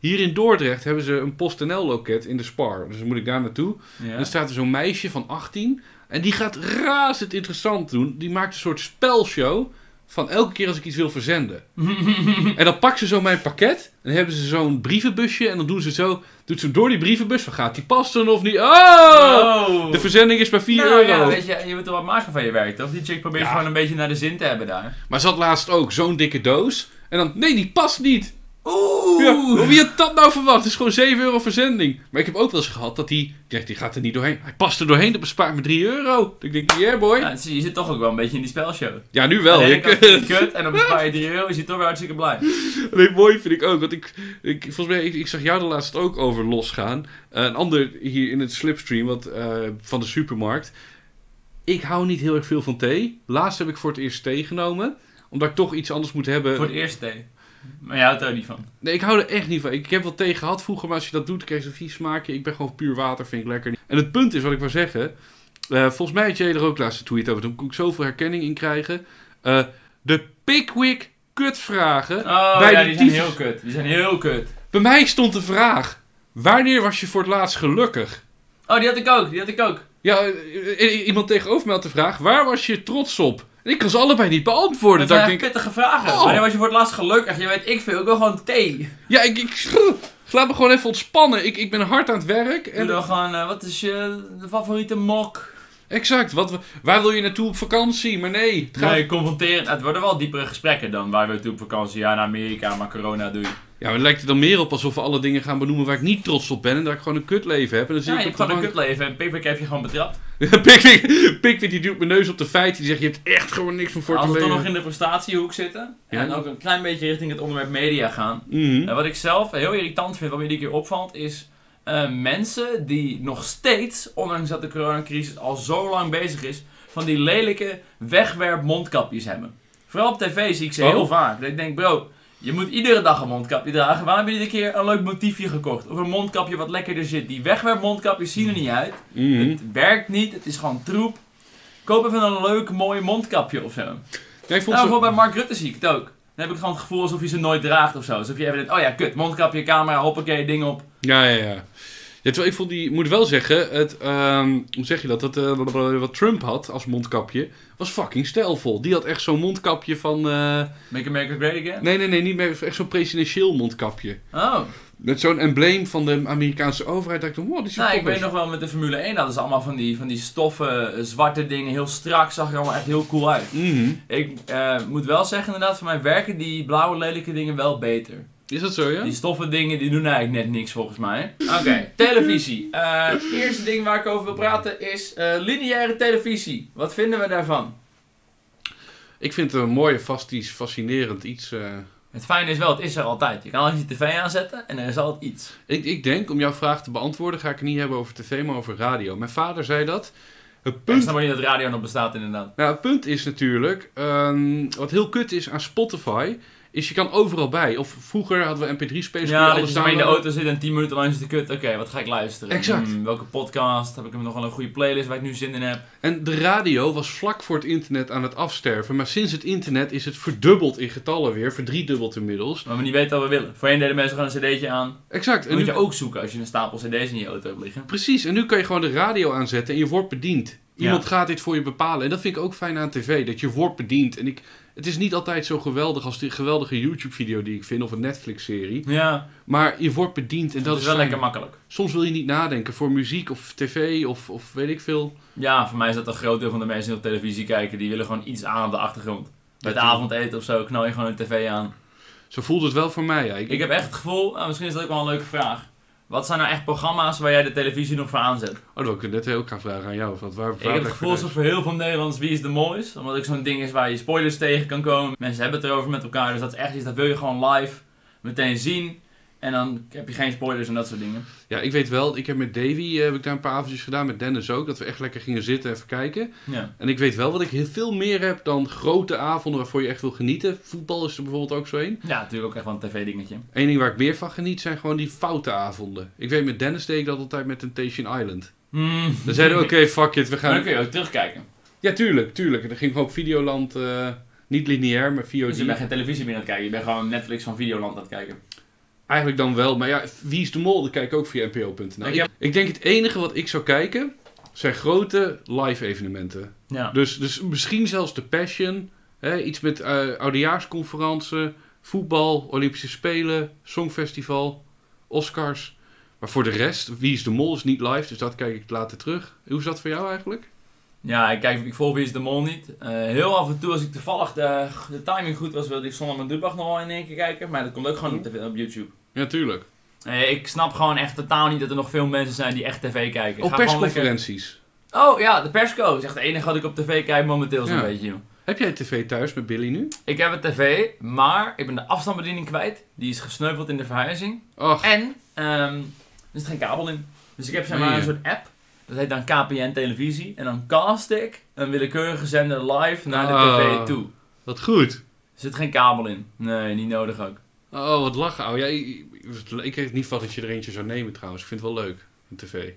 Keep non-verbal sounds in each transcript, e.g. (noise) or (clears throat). Hier in Dordrecht hebben ze een PostNL-loket in de Spar. Dus dan moet ik daar naartoe. Ja. En (laughs) dan staat er zo'n meisje van 18. En die gaat razend interessant doen. Die maakt een soort spelshow. Van elke keer als ik iets wil (clears throat) verzenden. en dan pakt ze zo mijn pakket. En dan hebben ze zo'n brievenbusje. En dan doen ze zo. Doet ze door die brievenbus. Van gaat die passen of niet? Oh! Oh. De verzending is maar 4 Nou euro. ja, weet je, je moet er wat maken van je werk, toch? Die chick probeert Ja. gewoon een beetje naar de zin te hebben daar. Maar zat laatst ook zo'n dikke doos. En dan, nee, die past niet. Oeh! Ja, maar wie had dat nou verwacht? Het is gewoon 7 euro verzending. Maar ik heb ook wel eens gehad dat die, ik dacht, die gaat er niet doorheen. Hij past er doorheen, dat bespaart me 3 euro. Dat ik denk, yeah boy. Nou, zie je je zit toch ook wel een beetje in die spelshow. Ja, nu wel. Eh. Aan de Ik, ene kant vind je het kut en dan bespaar je 3 euro, je zit toch weer hartstikke blij. (laughs) nee, mooi vind ik ook. Want ik, ik volgens mij, ik, ik zag jou er laatst ook over losgaan. Eh, een ander hier in het slipstream wat, eh, van de supermarkt. Ik hou niet heel erg veel van thee. Laatst heb ik voor het eerst thee genomen. Omdat ik toch iets anders moet hebben. Voor het eerst thee. Maar jij houdt er ook niet van. Nee, ik hou er echt niet van. Ik heb wel thee gehad vroeger, maar als je dat doet, krijg je zo'n vies smaakje. Ik ben gewoon puur water, vind ik lekker. En het punt is, wat ik wil zeggen... eh, volgens mij had jij er ook laatst een tweet over. Toen kon ik zoveel herkenning in krijgen. Eh, de Pickwick kutvragen. Oh Bij ja, die die zijn tyfus- heel kut. Die zijn heel kut. Bij mij stond de vraag... Wanneer was je voor het laatst gelukkig? Oh, die had ik ook, die had ik ook. Ja, eh, eh, iemand tegenover mij had de vraag... Waar was je trots op? En ik kan ze allebei niet beantwoorden. Dat Dat zijn ik echt denk, pittige vragen. Oh. Wanneer was je voor het laatst gelukkig? Je weet ik veel, ik wil gewoon thee. ja, ik... ik laat me gewoon even ontspannen. Ik, ik ben hard aan het werk. En En dan gewoon, eh, wat is je favoriete mok? Exact. Wat, we- waar wil je naartoe op vakantie? Maar nee. het gaat- Nee, confronterend. Het worden wel diepere gesprekken dan. Waar we toe op vakantie? Ja, naar Amerika, maar corona doe je. Ja, maar het lijkt er dan meer op alsof we alle dingen gaan benoemen waar ik niet trots op ben. En dat ik gewoon een kutleven heb. En dan zit Ja, je ik hebt op de gewoon een bank. kutleven en Pickwick heeft je gewoon betrapt. (laughs) Pikwik, Pikwik die duwt mijn neus op de feiten. Die zegt, je hebt echt gewoon niks meer voor Als te we leven. dan nog in de prestatiehoek zitten en Ja. ook een klein beetje richting het onderwerp media gaan. Mhm. En wat ik zelf heel irritant vind, wat me iedere keer opvalt, is eh, mensen die nog steeds, ondanks dat de coronacrisis al zo lang bezig is, van die lelijke wegwerp mondkapjes hebben. Vooral op tv zie ik ze Oh. heel vaak. Dat ik denk, bro, je moet iedere dag een mondkapje dragen. Waarom heb je iedere keer een leuk motiefje gekocht? Of een mondkapje wat lekkerder zit. Die wegwerp mondkapjes zien er niet uit. Mhm. Het werkt niet, het is gewoon troep. Koop even een leuk, mooi mondkapje of zo. Nou, Ja, ik vond zo- bijvoorbeeld bij Mark Rutte zie ik het ook. Dan heb ik gewoon het gevoel alsof je ze nooit draagt of zo. Alsof je even denkt, oh ja, kut, mondkapje, camera, hoppakee, ding op. ja, ja, ja. Ja, terwijl ik vond die, moet wel zeggen, het, ehm, hoe zeg je dat? dat eh, blablabla, wat Trump had als mondkapje, was fucking stijlvol. Die had echt zo'n mondkapje van, eh, Make America Great Again. nee, nee, nee, niet meer, echt zo'n presidentieel mondkapje. Oh, Met zo'n embleem van de Amerikaanse overheid. dacht ik, wow, dit is nou, ik toch best- weet nog wel met de Formule 1, dat is allemaal van die, van die stoffen, eh, zwarte dingen, heel strak, zag er allemaal echt heel cool uit. Mhm. Ik eh, moet wel zeggen inderdaad, voor mij werken die blauwe lelijke dingen wel beter. Is dat zo, ja? Die stoffen dingen die doen eigenlijk net niks volgens mij. Oké, televisie. Eh, Het eerste ding waar ik over wil praten is eh, lineaire televisie. Wat vinden we daarvan? Ik vind het een mooi, vast iets fascinerend iets. eh. Het fijne is wel, het is er altijd. Je kan altijd je tv aanzetten en er is altijd iets. Ik, ik denk, om jouw vraag te beantwoorden, ga ik het niet hebben over tv, maar over radio. Mijn vader zei dat. Het Ik punt, snap maar niet dat radio nog bestaat inderdaad. nou, het punt is natuurlijk, ehm, wat heel kut is aan Spotify, is je kan overal bij. Of vroeger hadden we mp3-spelers. Ja, dat je maar in de auto zit en 10 minuten lang is de kut. Oké, wat ga ik luisteren? Exact. Hmm, welke podcast? Heb ik nog wel een goede playlist waar ik nu zin in heb? En de radio was vlak voor het internet aan het afsterven. Maar sinds het internet is het verdubbeld in getallen weer. Verdriedubbeld inmiddels. Maar we niet weten wat we willen. Voorheen deden mensen gewoon een cd'tje aan. Exact. Dat En nu- moet je ook zoeken als je een stapel cd's in je auto hebt liggen. Precies, en nu kan je gewoon de radio aanzetten en je wordt bediend. Iemand Ja. gaat dit voor je bepalen. En dat vind ik ook fijn aan tv, dat je wordt bediend. En ik, het is niet altijd zo geweldig als die geweldige YouTube-video die ik vind of een Netflix-serie. Ja, Maar je wordt bediend en dat, dat is wel fijn. lekker makkelijk. Soms wil je niet nadenken voor muziek of tv of, of weet ik veel. Ja, voor mij is dat een groot deel van de mensen die op televisie kijken, die willen gewoon iets aan op de achtergrond. Met Dat- avondeten of zo knal je gewoon een tv aan. Zo voelt het wel voor mij. Ja. Ik, Ik heb echt het gevoel, nou, misschien is dat ook wel een leuke vraag. Wat zijn nou echt programma's waar jij de televisie nog voor aanzet? Oh, dat wil ik net heel graag vragen aan jou. Want waar, waar Ik heb het leg gevoel je deze? alsof voor heel veel Nederlands Wie is de Moois. Omdat ik zo'n ding is waar je spoilers tegen kan komen. Mensen hebben het erover met elkaar, dus dat is echt iets dat wil je gewoon live meteen zien. En dan heb je geen spoilers en dat soort dingen. Ja, ik weet wel. Ik heb met Davy eh, heb ik daar een paar avondjes gedaan. Met Dennis ook. Dat we echt lekker gingen zitten en even kijken. Ja. En ik weet wel wat ik heel veel meer heb dan grote avonden waarvoor je echt wil genieten. Voetbal is er bijvoorbeeld ook zo een. ja, natuurlijk ook echt wel een tv-dingetje. Eén ding waar ik meer van geniet zijn gewoon die foute avonden. Ik weet, met Dennis deed ik dat altijd met Temptation Island. (laughs) Hmm. Dan zeiden we, oké, fuck it, we Maar Dan gaan... kun je ook terugkijken. Ja, tuurlijk, tuurlijk. En dan ging ik gewoon op Videoland, eh, niet lineair, maar Dus je bent VOD. geen televisie meer aan het kijken, je bent gewoon Netflix van Videoland aan het kijken. eigenlijk dan wel. Maar ja, Wie is de Mol? Dat kijk ik ook via npo.nl. Ik Ik, heb- ik denk het enige wat ik zou kijken, zijn grote live evenementen. Ja. Dus, dus misschien zelfs de Passion. Hè, iets met eh oudejaarsconferenties, voetbal, Olympische Spelen, Songfestival, Oscars. Maar voor de rest, Wie is de Mol is niet live, dus dat kijk ik later terug. Hoe is dat voor jou eigenlijk? Ja, ik, kijk, ik volg Wie is de Mol niet. Eh, heel af en toe, als ik toevallig de, de timing goed was, wilde ik zonder mijn Dubach nog wel in één keer kijken. Maar dat komt ook gewoon op, tv op YouTube. Ja, tuurlijk. Eh, ik snap gewoon echt totaal niet dat er nog veel mensen zijn die echt tv kijken. Op Ga gewoon lekker- persconferenties. Oh ja, de persco is echt het enige wat ik op tv kijk momenteel zo'n Ja. beetje. joh. Heb jij tv thuis met Billy nu? Ik heb het tv, maar ik ben de afstandsbediening kwijt. Die is gesneuveld in de verhuizing. Ach, En ehm, er zit geen kabel in. Dus ik heb zeg Nee, maar een hè. soort app. Dat heet dan KPN Televisie. En dan cast ik een willekeurige zender live naar de Ah. tv toe. wat goed. Er zit geen kabel in. Nee, niet nodig (laughs) ook. Oh, wat lachen, ouwe. Ja, ik, ik weet niet van dat je er eentje zou nemen trouwens. Ik vind het wel leuk, een tv.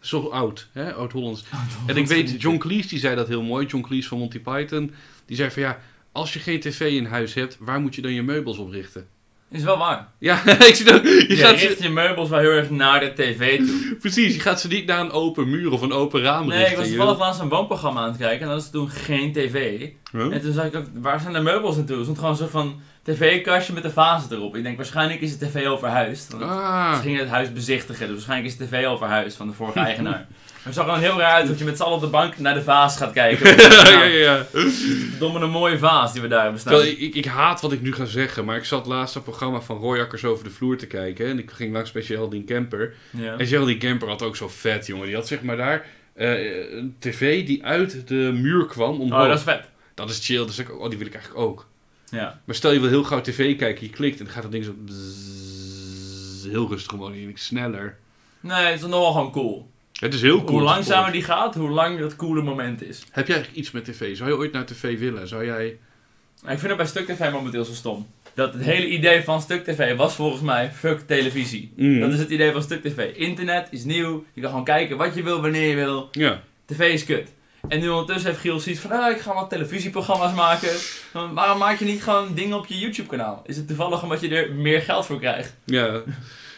Zo oud, hè? Oud-Hollands. Oh, En ik weet, John Cleese die zei dat heel mooi. John Cleese van Monty Python. Die zei van ja, als je geen tv in huis hebt, waar moet je dan je meubels op richten? (laughs) Is wel waar. Ja, (laughs) ik zie dat. Je Je, gaat ze, richt je meubels wel heel erg naar de tv toe. precies, je gaat ze niet naar een open muur of een open raam Nee, ik richten. was je toevallig laatst een woonprogramma aan het kijken en dat was toen geen tv. wil- Huh? En toen zag ik ook, waar zijn de meubels naartoe? Er stond gewoon een soort van tv-kastje met een vaas erop. Ik denk, waarschijnlijk is de tv al verhuisd. Want Ze Ah, gingen het huis bezichtigen, dus waarschijnlijk is de tv al verhuisd van de (laughs) vorige eigenaar. Maar het zag gewoon heel raar uit dat je met z'n allen op de bank naar de vaas gaat (laughs) kijken. ja, ja, Nou, ja. Domme een mooie vaas die we daar hebben Terwijl staan. ik, ik, ik haat wat ik nu ga zeggen, maar ik zat laatst dat programma van Royakkers over de vloer te kijken. En ik ging langs bij Geraldine Kemper. Ja. En Geraldine Kemper had ook zo vet, jongen. Die had zeg maar daar eh, een tv die uit de muur kwam omhoog. Oh, dat is vet. Dat is chill. Dus ik, oh, die wil ik eigenlijk ook. Ja. Maar stel je wil heel gauw tv kijken, je klikt en dan gaat dat ding zo... bzzz, heel rustig omhoog en ik sneller. Nee, het is nog wel gewoon cool. Het is heel cool. Hoe te langzamer volgen. die gaat, hoe lang dat coole moment is. Heb jij eigenlijk iets met tv? Zou je ooit naar tv willen? Zou jij... Maar Ik vind het bij Stuk TV momenteel zo stom. Dat het hele idee van Stuk TV was volgens mij fuck televisie. Mm. Dat is het idee van Stuk TV. Internet is nieuw. Je kan gewoon kijken wat je wil, wanneer je wil. Ja. TV is kut. En nu ondertussen heeft Giel zoiets van, ah, ik ga wat televisieprogramma's maken. Maar waarom maak je niet gewoon dingen op je YouTube kanaal? Is het toevallig omdat je er meer geld voor krijgt? Ja.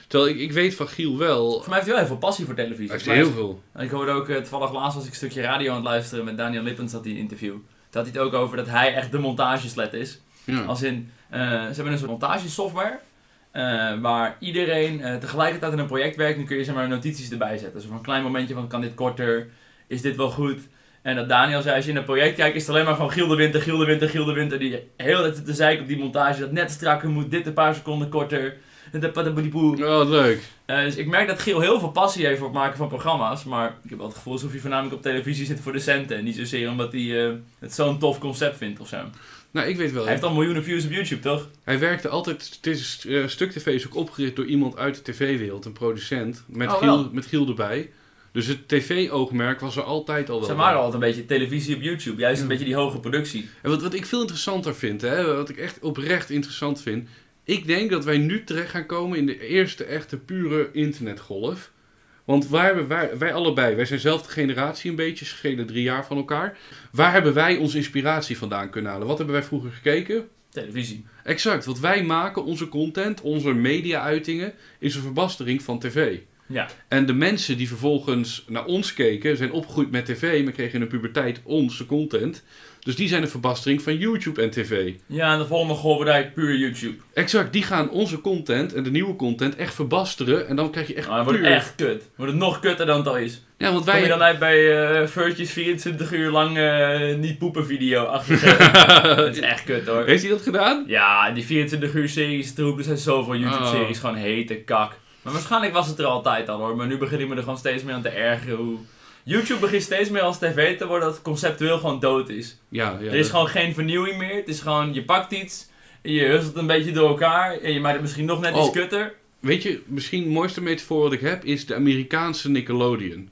Terwijl ik, ik weet van Giel wel... Voor mij heeft hij wel heel veel passie voor televisie. Hij heeft Maar heel veel. Ik hoorde ook eh, toevallig laatst als ik een stukje radio aan het luisteren met Daniel Lippens dat hij een interview. Dat hij het ook over dat hij echt de montageslet is. Ja. Als in, eh, ze hebben een soort montagesoftware. eh, waar iedereen eh, tegelijkertijd in een project werkt. Nu kun je zeg maar notities erbij zetten. Zo van een klein momentje van kan dit korter? Is dit wel goed? En dat Daniel zei, als je in een project kijkt, is het alleen maar van Giel de Winter, Giel de Winter, Giel de Winter. Die heel de tijd te zeiken op die montage. Dat net strakker moet, dit een paar seconden korter. en dat padabodieboe. Oh, wat leuk. Eh, dus ik merk dat Giel heel veel passie heeft voor het maken van programma's. Maar ik heb wel het gevoel alsof hij voornamelijk op televisie zit voor de centen. En niet zozeer omdat hij eh, het zo'n tof concept vindt of zo. Nou, ik weet wel. Hij heeft al miljoenen views op YouTube, toch? Hij werkte altijd. Het is, eh, stuk TV is ook opgericht door iemand uit de TV-wereld, een producent. Met, Oh, wel. Giel, met Giel erbij. Dus het TV-oogmerk was er altijd al wel. Ze waren bij. altijd een beetje televisie op YouTube, juist een Ja. beetje die hoge productie. En wat, wat ik veel interessanter vind, hè, wat ik echt oprecht interessant vind. Ik denk dat wij nu terecht gaan komen in de eerste echte pure internetgolf. Want waar hebben wij, wij allebei, wij zijn zelf de generatie een beetje, schelen drie jaar van elkaar. Waar hebben wij onze inspiratie vandaan kunnen halen? Wat hebben wij vroeger gekeken? Televisie. Exact, wat wij maken, onze content, onze media-uitingen, is een verbastering van tv. Ja. En de mensen die vervolgens naar ons keken, zijn opgegroeid met tv, maar kregen in hun puberteit onze content. Dus die zijn een verbastering van YouTube en tv. Ja, en de volgende golf wordt eigenlijk puur YouTube. Exact, die gaan onze content en de nieuwe content echt verbasteren. En dan krijg je echt Maar het Nou, wordt puur- echt kut. Wordt het nog kutter dan het al is. Ja, want Kom je wij... dan uit bij eh Virtues 24 uur lang eh, niet poepen video achter (laughs) Dat is echt kut hoor. Heeft hij dat gedaan? Ja, die 24 uur series troep, er zijn zoveel YouTube series Oh. gewoon hete kak. Maar waarschijnlijk was het er altijd al hoor, maar nu begin ik me er gewoon steeds meer aan te ergeren hoe... YouTube begint steeds meer als tv te worden dat het conceptueel gewoon dood is. Ja, ja. er is dat- gewoon geen vernieuwing meer. Het is gewoon, je pakt iets, je hustelt een beetje door elkaar en je maakt het misschien nog net iets Oh. kutter. Weet je, misschien de mooiste metafoor wat ik heb is de Amerikaanse Nickelodeon.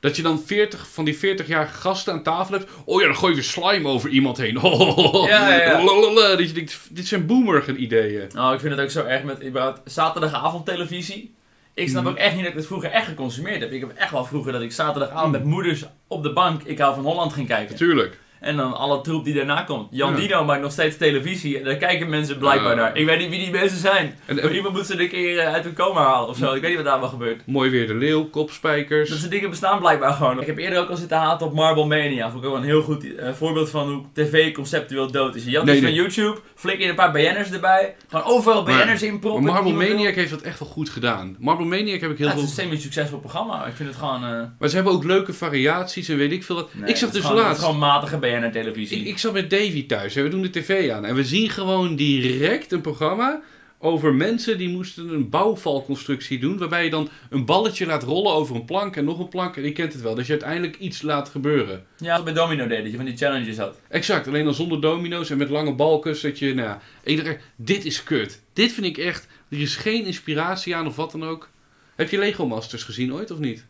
Dat je dan 40, van die 40-jarige gasten aan tafel hebt. Oh ja, dan gooi je weer slime over iemand heen. (laughs) Oh, Ja, ja, ja. lalalala. Dat je denkt, dit zijn boomer-ideeën. Nou, ik vind het ook zo erg met überhaupt zaterdagavond televisie. Ik snap Mhm. ook echt niet dat ik het vroeger echt Mm. geconsumeerd heb. Ik heb echt wel vroeger dat ik zaterdagavond met moeders op de bank Ik hou van Holland ging kijken. Natuurlijk. En dan alle troep die daarna komt. Jan Ja. Dino maakt nog steeds televisie. En daar kijken mensen blijkbaar Ja. naar. Ik weet niet wie die mensen zijn. En, Maar en- iemand moet ze een keer eh, uit hun coma halen of zo. Ik weet niet wat daar wel gebeurt. mooi weer de leeuw, kopspijkers. Dat soort dingen bestaan blijkbaar gewoon. Ik heb eerder ook al zitten haten op Marble Mania. Vond ik ook een heel goed eh, voorbeeld van hoe tv conceptueel dood is. Je had Nee, iets nee. van YouTube, flik in een paar BN'ers erbij. Gewoon overal Maar- BN'ers in Maar proppen. Marble die niemand wil. Maniac heeft dat echt wel goed gedaan. Marble Maniac heb ik heel Ja, het veel... is een semi-succesvol programma. Ik vind het gewoon... eh, Maar ze hebben ook leuke variaties en weet ik veel wat. nee, ik het zag is dus gewoon, het is laatst... gewoon matige BNR-televisie. Ik, ik zat met Davy thuis en we doen de tv aan. En we zien gewoon direct een programma over mensen die moesten een bouwvalconstructie doen. Waarbij je dan een balletje laat rollen over een plank en nog een plank. En je kent het wel. Dus je uiteindelijk iets laat gebeuren. Ja, als bij Domino deed, dat je van die challenges had. Exact, alleen dan zonder domino's en met lange balkens. Dat je, nou ja, en je denkt, dit is kut. Dit vind ik echt, er is geen inspiratie aan of wat dan ook. Heb je Lego Masters gezien ooit of niet?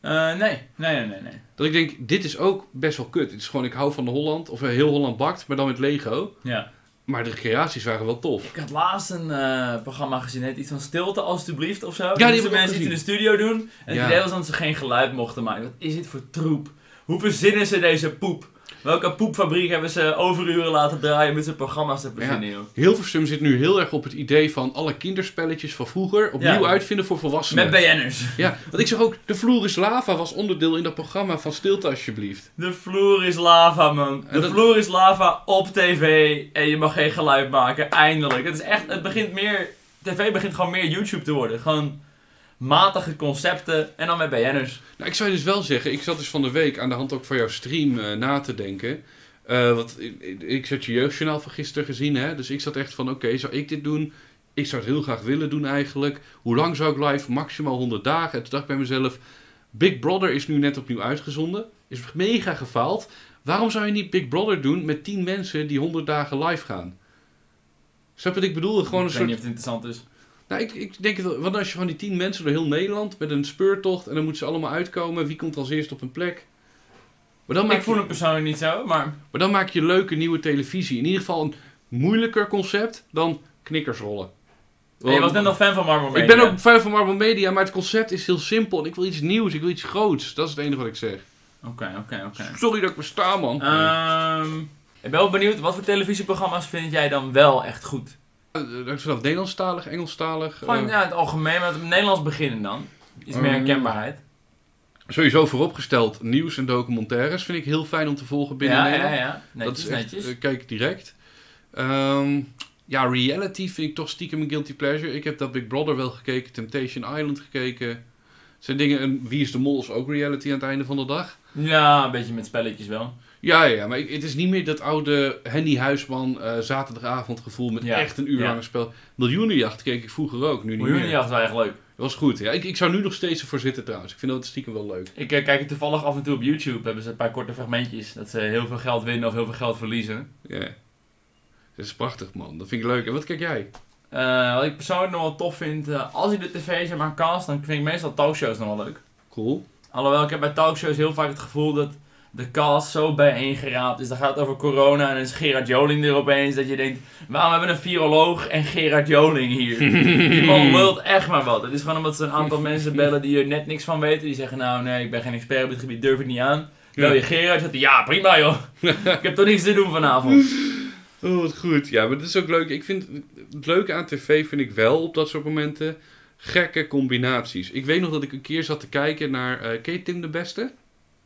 Eh, nee, nee, nee, nee. nee. Dat ik denk, dit is ook best wel kut. Het is gewoon, ik hou van Holland, of eh, heel Holland bakt, maar dan met Lego. Ja. Maar de creaties waren wel tof. Ik had laatst een eh, programma gezien, het heet iets van stilte alstublieft of zo. die die heb ik ook mensen iets in gezien. de studio doen. En Ja. het idee was dat ze geen geluid mochten maken. Wat is dit voor troep? Hoe verzinnen ze deze poep? Welke poepfabriek hebben ze overuren laten draaien met zijn programma's te verzinnen, joh? Hilversum zit nu heel erg op het idee van alle kinderspelletjes van vroeger opnieuw Ja. uitvinden voor volwassenen. Met BN'ers. ja, want ik zeg ook, de vloer is lava was onderdeel in dat programma van Stilte alsjeblieft. De vloer is lava, man. En De dat- vloer is lava op tv en je mag geen geluid maken. Eindelijk. Het is echt, het begint meer, tv begint gewoon meer YouTube te worden. Gewoon matige concepten en dan met BN'ers. Nou, ik zou je dus wel zeggen, ik zat dus van de week aan de hand ook van jouw stream eh, na te denken. Eh, want ik, ik- ik had je jeugdjournaal van gisteren gezien, hè? dus ik zat echt van, oké, zou ik dit doen? Ik zou het heel graag willen doen eigenlijk. Hoe lang zou ik live? Maximaal 100 dagen. En toen dacht ik bij mezelf, Big Brother is nu net opnieuw uitgezonden. Is mega gefaald. Waarom zou je niet Big Brother doen met 10 mensen die 100 dagen live gaan? Snap je wat ik bedoel? Gewoon een ik weet soort niet of het interessant is. nou, ik, ik denk het wel. Want als je gewoon die tien mensen door heel Nederland met een speurtocht en dan moeten ze allemaal uitkomen, wie komt als eerst op een plek? Maar dan, maak ik voel je, Oh. het persoonlijk niet zo, maar maar dan maak je leuke nieuwe televisie. In ieder geval een moeilijker concept dan knikkersrollen. je was net nog fan van Marvel ik ben ook fan van Marvel Media, maar het concept is heel simpel. En ik wil iets nieuws, ik wil iets groots. Dat is het enige wat ik zeg. Oké, oké, oké. Sorry dat ik besta, man. Ehm, Ik ben wel benieuwd, wat voor televisieprogramma's vind jij dan wel echt goed? Eh, eh, Vanaf Nederlandstalig, Engelstalig. Gewoon eh, ja, in het algemeen, maar het Nederlands beginnen dan. Iets meer Ehm, herkenbaarheid. Sowieso vooropgesteld, nieuws en documentaires vind ik heel fijn om te volgen binnen ja, Nederland. ja, ja. Netjes, dat is echt, netjes. eh, kijk direct. Ehm, ja, reality vind ik toch stiekem een guilty pleasure. Ik heb dat Big Brother wel gekeken, Temptation Island gekeken. Het zijn dingen, en Wie is de Mol is ook reality aan het einde van de dag. Ja, een beetje met spelletjes wel. Ja, ja, ja, maar ik- het is niet meer dat oude Henny Huisman eh, zaterdagavond gevoel met Ja, echt een uur ja. lang een spel. Miljoenenjacht keek ik vroeger ook, nu niet meer. Miljoenenjacht is wel echt leuk. Dat was goed. Ja. Ik, ik zou nu nog steeds ervoor zitten trouwens. Ik vind dat stiekem wel leuk. Ik eh, kijk het toevallig af en toe op YouTube. Hebben ze een paar korte fragmentjes. Dat ze heel veel geld winnen of heel veel geld verliezen. Ja. Dat is prachtig man, dat vind ik leuk. En wat kijk jij? Eh, wat ik persoonlijk nog wel tof vind, eh, als je de tv zeg maar cast, dan vind ik meestal talkshows nog wel leuk. Cool. Alhoewel, ik heb bij talkshows heel vaak het gevoel dat de cast zo bijeengeraapt is. Dan gaat het over corona en dan is Gerard Joling er opeens. Dat je denkt, waarom hebben we een viroloog en Gerard Joling hier? (laughs) Die man lult echt maar wat. Het is gewoon omdat ze een aantal mensen bellen die er net niks van weten. Die zeggen, nou nee, ik ben geen expert op dit gebied, durf het niet aan. Bel je Gerard, zegt hij, ja prima joh. ik heb toch niks te doen (laughs) vanavond. Oh, wat goed. Ja, maar dat is ook leuk. Ik vind het leuke aan tv vind ik wel op dat soort momenten gekke combinaties. Ik weet nog dat ik een keer zat te kijken naar eh Kate Tim de Beste.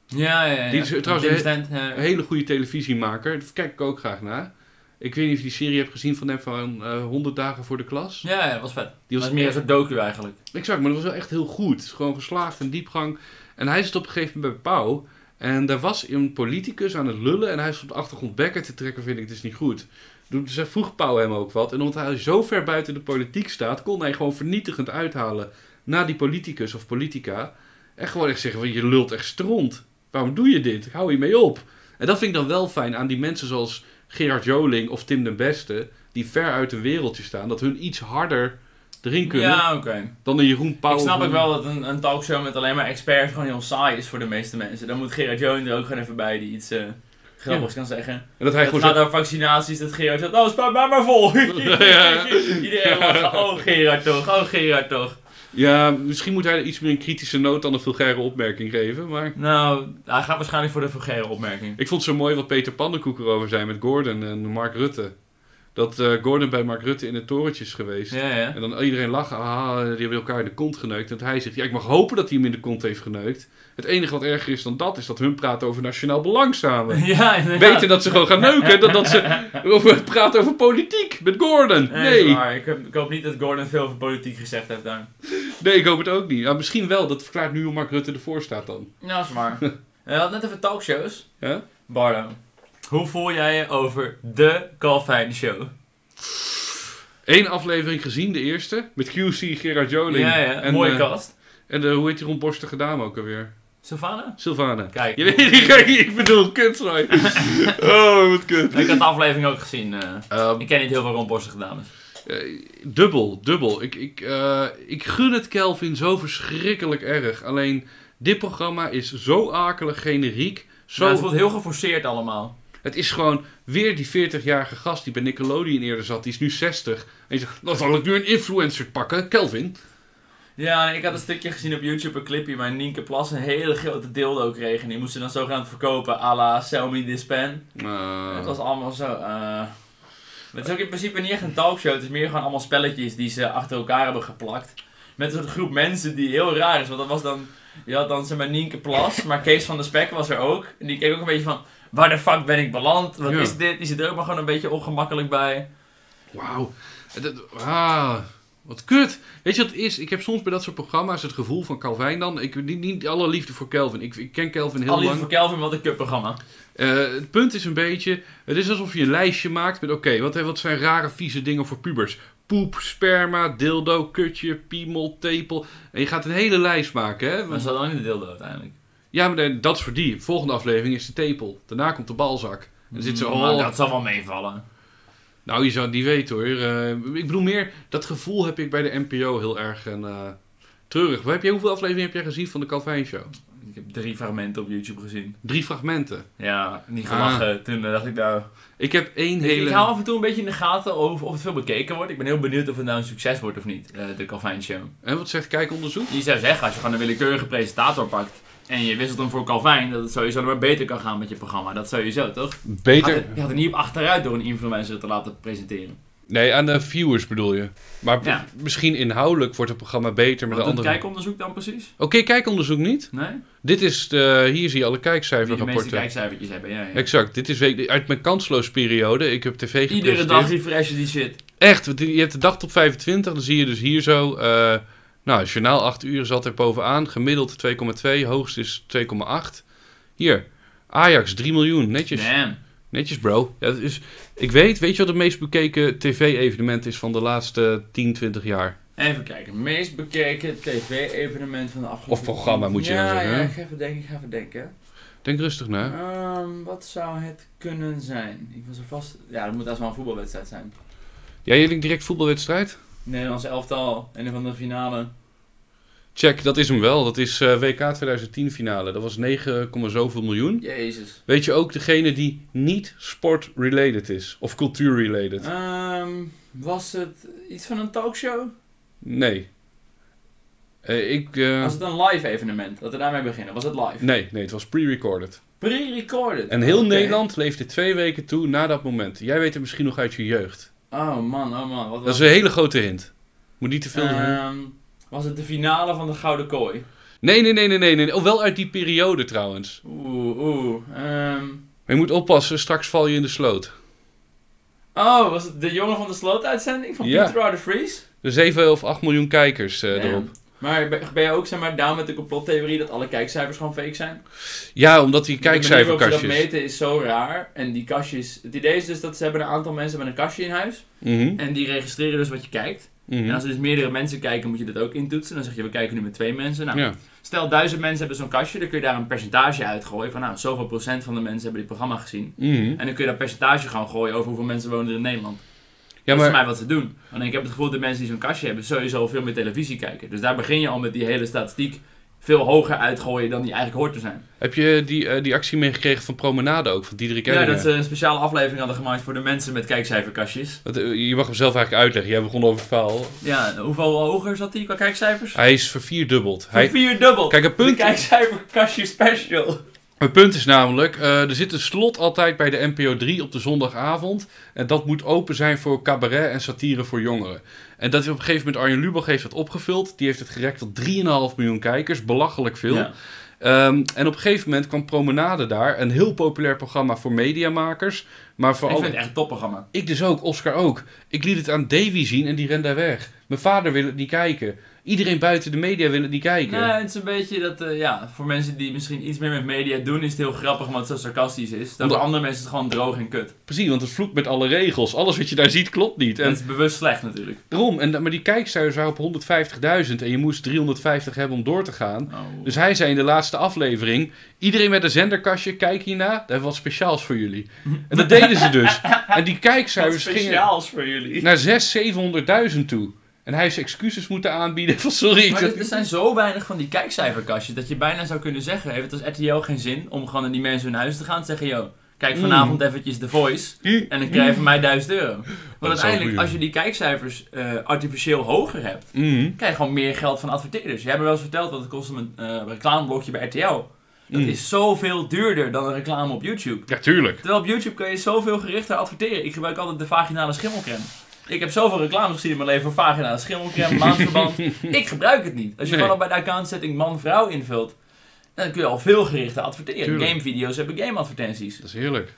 Ja, ja, ja. Die is trouwens Tim he- Stand, eh, Een hele goede televisiemaker. Daar kijk ik ook graag naar. Ik weet niet of je die serie hebt gezien van hem van eh 100 dagen voor de klas. ja, ja, dat was vet. Die dat was meer een soort docu eigenlijk. Exact, maar dat was wel echt heel goed. Het is Gewoon geslaagd en diepgang. En hij zit op een gegeven moment bij Pauw. En daar was een politicus aan het lullen. En hij is op de achtergrond bekken te trekken, vind ik dus niet goed. Toen- Dus hij vroeg Pauw hem ook wat. En omdat hij zo ver buiten de politiek staat, kon hij gewoon vernietigend uithalen naar die politicus of politica. En gewoon echt zeggen: van, Je lult echt stront. Waarom doe je dit? Ik hou je mee op. En dat vind ik dan wel fijn aan die mensen zoals Gerard Joling of Tim den Beste. Die ver uit hun wereldje staan. Dat hun iets harder erin kunnen Ja, oké. dan een Jeroen Pauw. Ik snap of ook een- wel dat een, een talkshow met alleen maar experts gewoon heel saai is voor de meeste mensen. Dan moet Gerard Joling er ook gewoon even bij die iets eh, grappigs kan zeggen. En dat hij Het gewoon gaat zegt, over vaccinaties, dat Gerard zegt, (laughs) oh spuit mij maar vol. Iedereen lacht, oh Gerard toch, oh Gerard toch. Ja, misschien moet hij er iets meer een kritische noot dan een vulgaire opmerking geven. Maar Nou, hij gaat waarschijnlijk voor de vulgaire opmerking. ik vond het zo mooi wat Peter Pandenkoek erover zei met Gordon en Mark Rutte. Dat eh, Gordon bij Mark Rutte in het torentje is geweest. Ja, ja. (laughs) En dan iedereen lachen, ah, die hebben elkaar in de kont geneukt. En dat hij zegt, ja, ik mag hopen dat hij hem in de kont heeft geneukt. Het enige wat erger is dan dat, is dat hun praten over nationaal belang samen. Ja, inderdaad. Weten dat ze gewoon gaan neuken, dan dat ze over- praten over politiek met Gordon. Nee, dat is Nee, waar. Ik, heb- ik hoop niet dat Gordon veel over politiek gezegd heeft daar. nee ik hoop het ook niet. Ja, misschien wel, dat verklaart nu hoe Mark Rutte ervoor staat dan. Ja, dat is waar. (laughs) Hij had net even talkshows. Ja? Bardo, hoe voel jij je over de Calvin Show? Eén aflevering gezien, de eerste, met QC Gerard Joling. Ja, ja. en, Mooie eh, kast. En de, hoe heet die rondborstige dame ook alweer? Sylvana? Sylvana. (laughs) Kijk. Je weet niet, kijk, ik bedoel, (laughs) kutzooi. Oh, wat kut. Ik had de aflevering ook gezien. eh. Ehm, ik ken niet heel veel rondborstige dames. Eh, dubbel, dubbel. Ik, ik, eh, ik gun het Kelvin zo verschrikkelijk erg. Alleen dit programma is zo akelig generiek. Zo, Maar het voelt heel geforceerd allemaal. het is gewoon weer die 40-jarige gast die bij Nickelodeon eerder zat. Die is nu 60. En je zegt, dan zal ik nu een influencer pakken. Kelvin. Ja, ik had een stukje gezien op YouTube, een clipje, waar Nienke Plas een hele grote dildo kreeg. En die moest ze dan zogenaamd verkopen, à la Sell Me This Pen. Eh, Het was allemaal zo, eh. Het is ook in principe niet echt een talkshow, het is meer gewoon allemaal spelletjes die ze achter elkaar hebben geplakt. Met een soort groep mensen die heel raar is, want dat was dan... Je had dan zeg maar Nienke Plas, maar Kees van der Spek was er ook. En die keek ook een beetje van, waar de fuck ben ik beland? Wat Ja. is dit? Die zit er ook maar gewoon een beetje ongemakkelijk bij. Wauw. Dat- Ah, wat kut. Weet je wat het is? Ik heb soms bij dat soort programma's het gevoel van Calvin dan. Ik niet, niet alle liefde voor Kelvin. Ik, ik ken Kelvin heel Al lief lang. voor Kelvin, wat een kutprogramma. Eh, het punt is een beetje, het is alsof je een lijstje maakt met oké, wat, wat zijn rare vieze dingen voor pubers? Poep, sperma, dildo, kutje, piemel, tepel. En je gaat een hele lijst maken, hè? Maar Want- ze hadden ook niet de dildo uiteindelijk. Ja, maar nee, dat is voor die. Volgende aflevering is de tepel. Daarna komt de balzak. En dan zit ze, Maar oh, Mm, nou, dat zal wel meevallen. nou je zou het niet weten hoor. Eh, ik bedoel meer, dat gevoel heb ik bij de NPO heel erg en, eh, treurig. Wat Heb jij, hoeveel afleveringen heb jij gezien van de Calvin Show? Ik heb drie fragmenten op YouTube gezien. Drie fragmenten. Ja, Ah. niet gelachen. Toen eh, dacht ik nou... Ik heb één Ik- hele... Ik hou af en toe een beetje in de gaten over of het veel bekeken wordt. Ik ben heel benieuwd of het nou een succes wordt of niet, eh, de Calvin Show. En wat zegt kijkonderzoek? Je zou zeggen, als je gewoon een willekeurige presentator pakt en je wisselt hem voor Calvin, dat het sowieso nog maar beter kan gaan met je programma. Dat sowieso, toch? Je had Beter. er- Je had er niet op achteruit door een influencer te laten presenteren. Nee, aan de viewers bedoel je. Maar b- Ja. misschien inhoudelijk wordt het programma beter met Wat de doet andere. kijkonderzoek dan precies? Oké, kijkonderzoek niet. Nee? Dit is de, hier zie je alle Die de meeste kijkcijferrapporten. kijkcijfertjes hebben, ja. ja. Exact, dit is week, uit mijn kansloosperiode. Ik heb tv gepresenteerd. Iedere dag refreshen die shit. Echt, want je hebt de dag tot 25, dan zie je dus hier zo. eh, nou, het journaal 8 uur zat er bovenaan. Gemiddeld 2,2, hoogst is 2,8. Hier, Ajax 3 miljoen, netjes. Damn. Netjes, bro. Ja, dat is, ik weet, weet je wat het meest bekeken tv-evenement is van de laatste 10, 20 jaar? Even kijken, meest bekeken tv-evenement van de afgelopen... Of programma, moet je ja, dan zeggen, Ja, hè? ik ga even denken, ik ga even denken. Denk rustig na. Ehm, wat zou het kunnen zijn? Ik was er vast. Ja, dat moet als wel een voetbalwedstrijd zijn. Jij jullie direct voetbalwedstrijd? Nederlands elftal, een van de finale. Check, dat is hem wel. Dat is eh, WK 2010 finale. Dat was 9, komma zoveel miljoen. Jezus. Weet je ook degene die niet sport-related is? Of cultuur-related? Ehm, was het iets van een talkshow? Nee. Eh, ik... eh, Was het een live evenement? Dat we daarmee beginnen. Was het live? Nee, nee, het was pre-recorded. Pre-recorded. En heel Oké. Nederland leefde twee weken toe na dat moment. Jij weet het misschien nog uit je jeugd. Oh man, oh man. Wat Dat was is een hele grote hint. Moet niet te veel... Ehm, was het de finale van de Gouden Kooi? Nee, nee, nee, nee, nee, nee. Oh, wel uit die periode trouwens. Oeh, oeh. Ehm, Maar je moet oppassen, straks val je in de sloot. oh, was het de jongen van de sloot-uitzending van Ja. Peter R. de Vries? Er 7 of 8 miljoen kijkers eh, Damn. erop. Maar ben ben je ook zeg maar, down met de complottheorie dat alle kijkcijfers gewoon fake zijn? Ja, omdat die De manier waarop kijkcijferkastjes. ze dat meten is zo raar. En die kastjes... Het idee is dus dat ze hebben een aantal mensen met een kastje in huis. Mhm, En die registreren dus wat je kijkt. mhm. En als er dus meerdere mensen kijken, moet je dat ook intoetsen. Dan zeg je, we kijken nu met twee mensen. Nou, Ja. Stel, duizend mensen hebben zo'n kastje. Dan kun je daar een percentage uitgooien. Van nou, zoveel procent van de mensen hebben dit programma gezien. mhm. En dan kun je dat percentage gewoon gooien over hoeveel mensen wonen er in Nederland. Ja, Dat is maar, voor mij wat ze doen. Alleen ik heb het gevoel dat de mensen die zo'n kastje hebben sowieso veel meer televisie kijken. Dus daar begin je al met die hele statistiek. 50% veel hoger uitgooien dan die eigenlijk hoort te zijn. Heb je die, eh, die actie meegekregen van Promenade ook, van Diederik Ja, Ebbingen? dat eh, ze een speciale aflevering hadden gemaakt voor de mensen met kijkcijferkastjes. Want, eh, Je mag hem zelf eigenlijk uitleggen. Jij begon over het verhaal. Ja, hoeveel hoger zat die qua kijkcijfers? Hij is vervierdubbeld. Voor Hij, vier dubbel. kijk, het De punt, kijkcijferkastje special. het punt is namelijk, eh, er zit een slot altijd bij de NPO 3 op de zondagavond. En dat moet open zijn voor cabaret en satire voor jongeren. En dat is op een gegeven moment Arjen Lubach heeft dat opgevuld. Die heeft het gerekt tot 3,5 miljoen kijkers. Belachelijk veel. Ja. Ehm, en op een gegeven moment kwam Promenade daar. Een heel populair programma voor mediamakers. Maar voor Ik vind alle... het echt een topprogramma. Ik dus ook, Oscar ook. Ik liet het aan Davy zien en die rende weg. Mijn vader wil het niet kijken. Iedereen buiten de media wil het niet kijken. Nee, Nou, het is een beetje dat, eh, ja, voor mensen die misschien iets meer met media doen, is het heel grappig omdat het zo sarcastisch is. Dat Omdat- voor andere mensen is het gewoon droog en kut. Precies, want het vloekt met alle regels. Alles wat je daar ziet klopt niet. En het En is bewust slecht natuurlijk. daarom, en, maar die kijkcijfers waren op 150.000 en je moest 350 hebben om door te gaan. Oh. Dus hij zei in de laatste aflevering: Iedereen met een zenderkastje, kijk hierna. Daar hebben we wat speciaals voor jullie. En dat deden ze dus. En die Wat kijkcijfers gingen speciaals voor jullie. naar 600.000, 700.000 toe. En hij heeft excuses moeten aanbieden van sorry. Ik Maar zat- er er zijn zo weinig van die kijkcijferkastjes dat je bijna zou kunnen zeggen: heeft het als RTL geen zin om gewoon naar die mensen hun huis te gaan en te zeggen: yo, Mm. kijk vanavond eventjes The Voice en dan krijg je van mij 1000 euro. wel Want uiteindelijk, goed, als je die kijkcijfers eh, artificieel hoger hebt, Mhm. krijg je gewoon meer geld van adverteerders. Je hebt me wel eens verteld dat het kost een eh, reclameblokje bij RTL. Dat Mm. is zoveel duurder dan een reclame op YouTube. Ja, tuurlijk. Terwijl op YouTube kun je zoveel gerichter adverteren. Ik gebruik altijd de vaginale schimmelcreme. Ik heb zoveel reclames gezien in mijn leven voor (laughs) vaginale schimmelcreme, maandverband. ik gebruik het niet. Als je Nee. gewoon al bij de account setting man-vrouw invult, dan kun je al veel gerichter adverteren. Tuurlijk. Gamevideo's hebben gameadvertenties. Dat is heerlijk.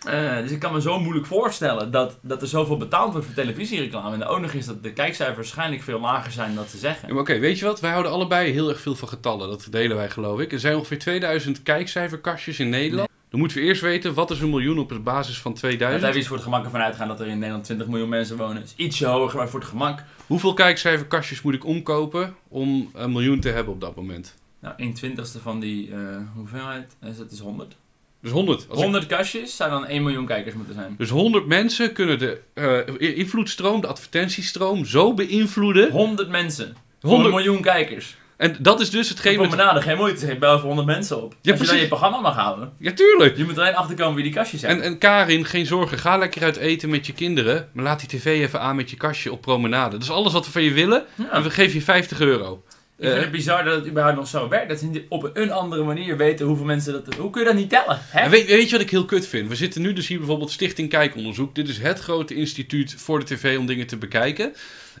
Eh, dus ik kan me zo moeilijk voorstellen dat, dat er zoveel betaald wordt voor televisiereclame. En de ook nog is dat de kijkcijfers waarschijnlijk veel lager zijn dan ze Ja, zeggen. maar Oké, weet je wat? Wij houden allebei heel erg veel van getallen. Dat delen wij, geloof ik. Er zijn ongeveer 2000 kijkcijferkastjes in Nederland. Dan moeten we eerst weten, wat is een miljoen op basis van Laten we 2000? even iets voor het gemak ervan uitgaan dat er in Nederland 20 miljoen mensen wonen. is ietsje hoger, maar voor het gemak. Hoeveel kijkcijferkastjes moet ik omkopen om een miljoen te hebben op dat moment? Nou, 1 twintigste van die eh, hoeveelheid, is dat is 100. Dus 100. Als ik- 100 kastjes zou dan 1 miljoen kijkers moeten zijn. Dus 100 mensen kunnen de eh, invloedstroom, de advertentiestroom, zo beïnvloeden. 100 mensen. 100 100. miljoen kijkers. En dat is dus hetgeen... Geen Wat... promenade, geen moeite. Ik bel voor 100 mensen op. Ja, Als je dan precies. je programma mag houden. Ja, tuurlijk. Je moet alleen achterkomen wie die kastjes hebben. En, en Karin, geen zorgen. Ga lekker uit eten met je kinderen. Maar laat die tv even aan met je kastje op promenade. Dat is alles wat we van je willen. Ja. En we geven je 50 euro. Ik vind Eh, het bizar dat het überhaupt nog zo werkt. Dat ze op een andere manier weten hoeveel mensen dat... Hoe kun je dat niet tellen? Hè? En weet, weet je wat ik heel kut vind? We zitten nu dus hier bijvoorbeeld Stichting Kijkonderzoek. Dit is het grote instituut voor de tv om dingen te bekijken.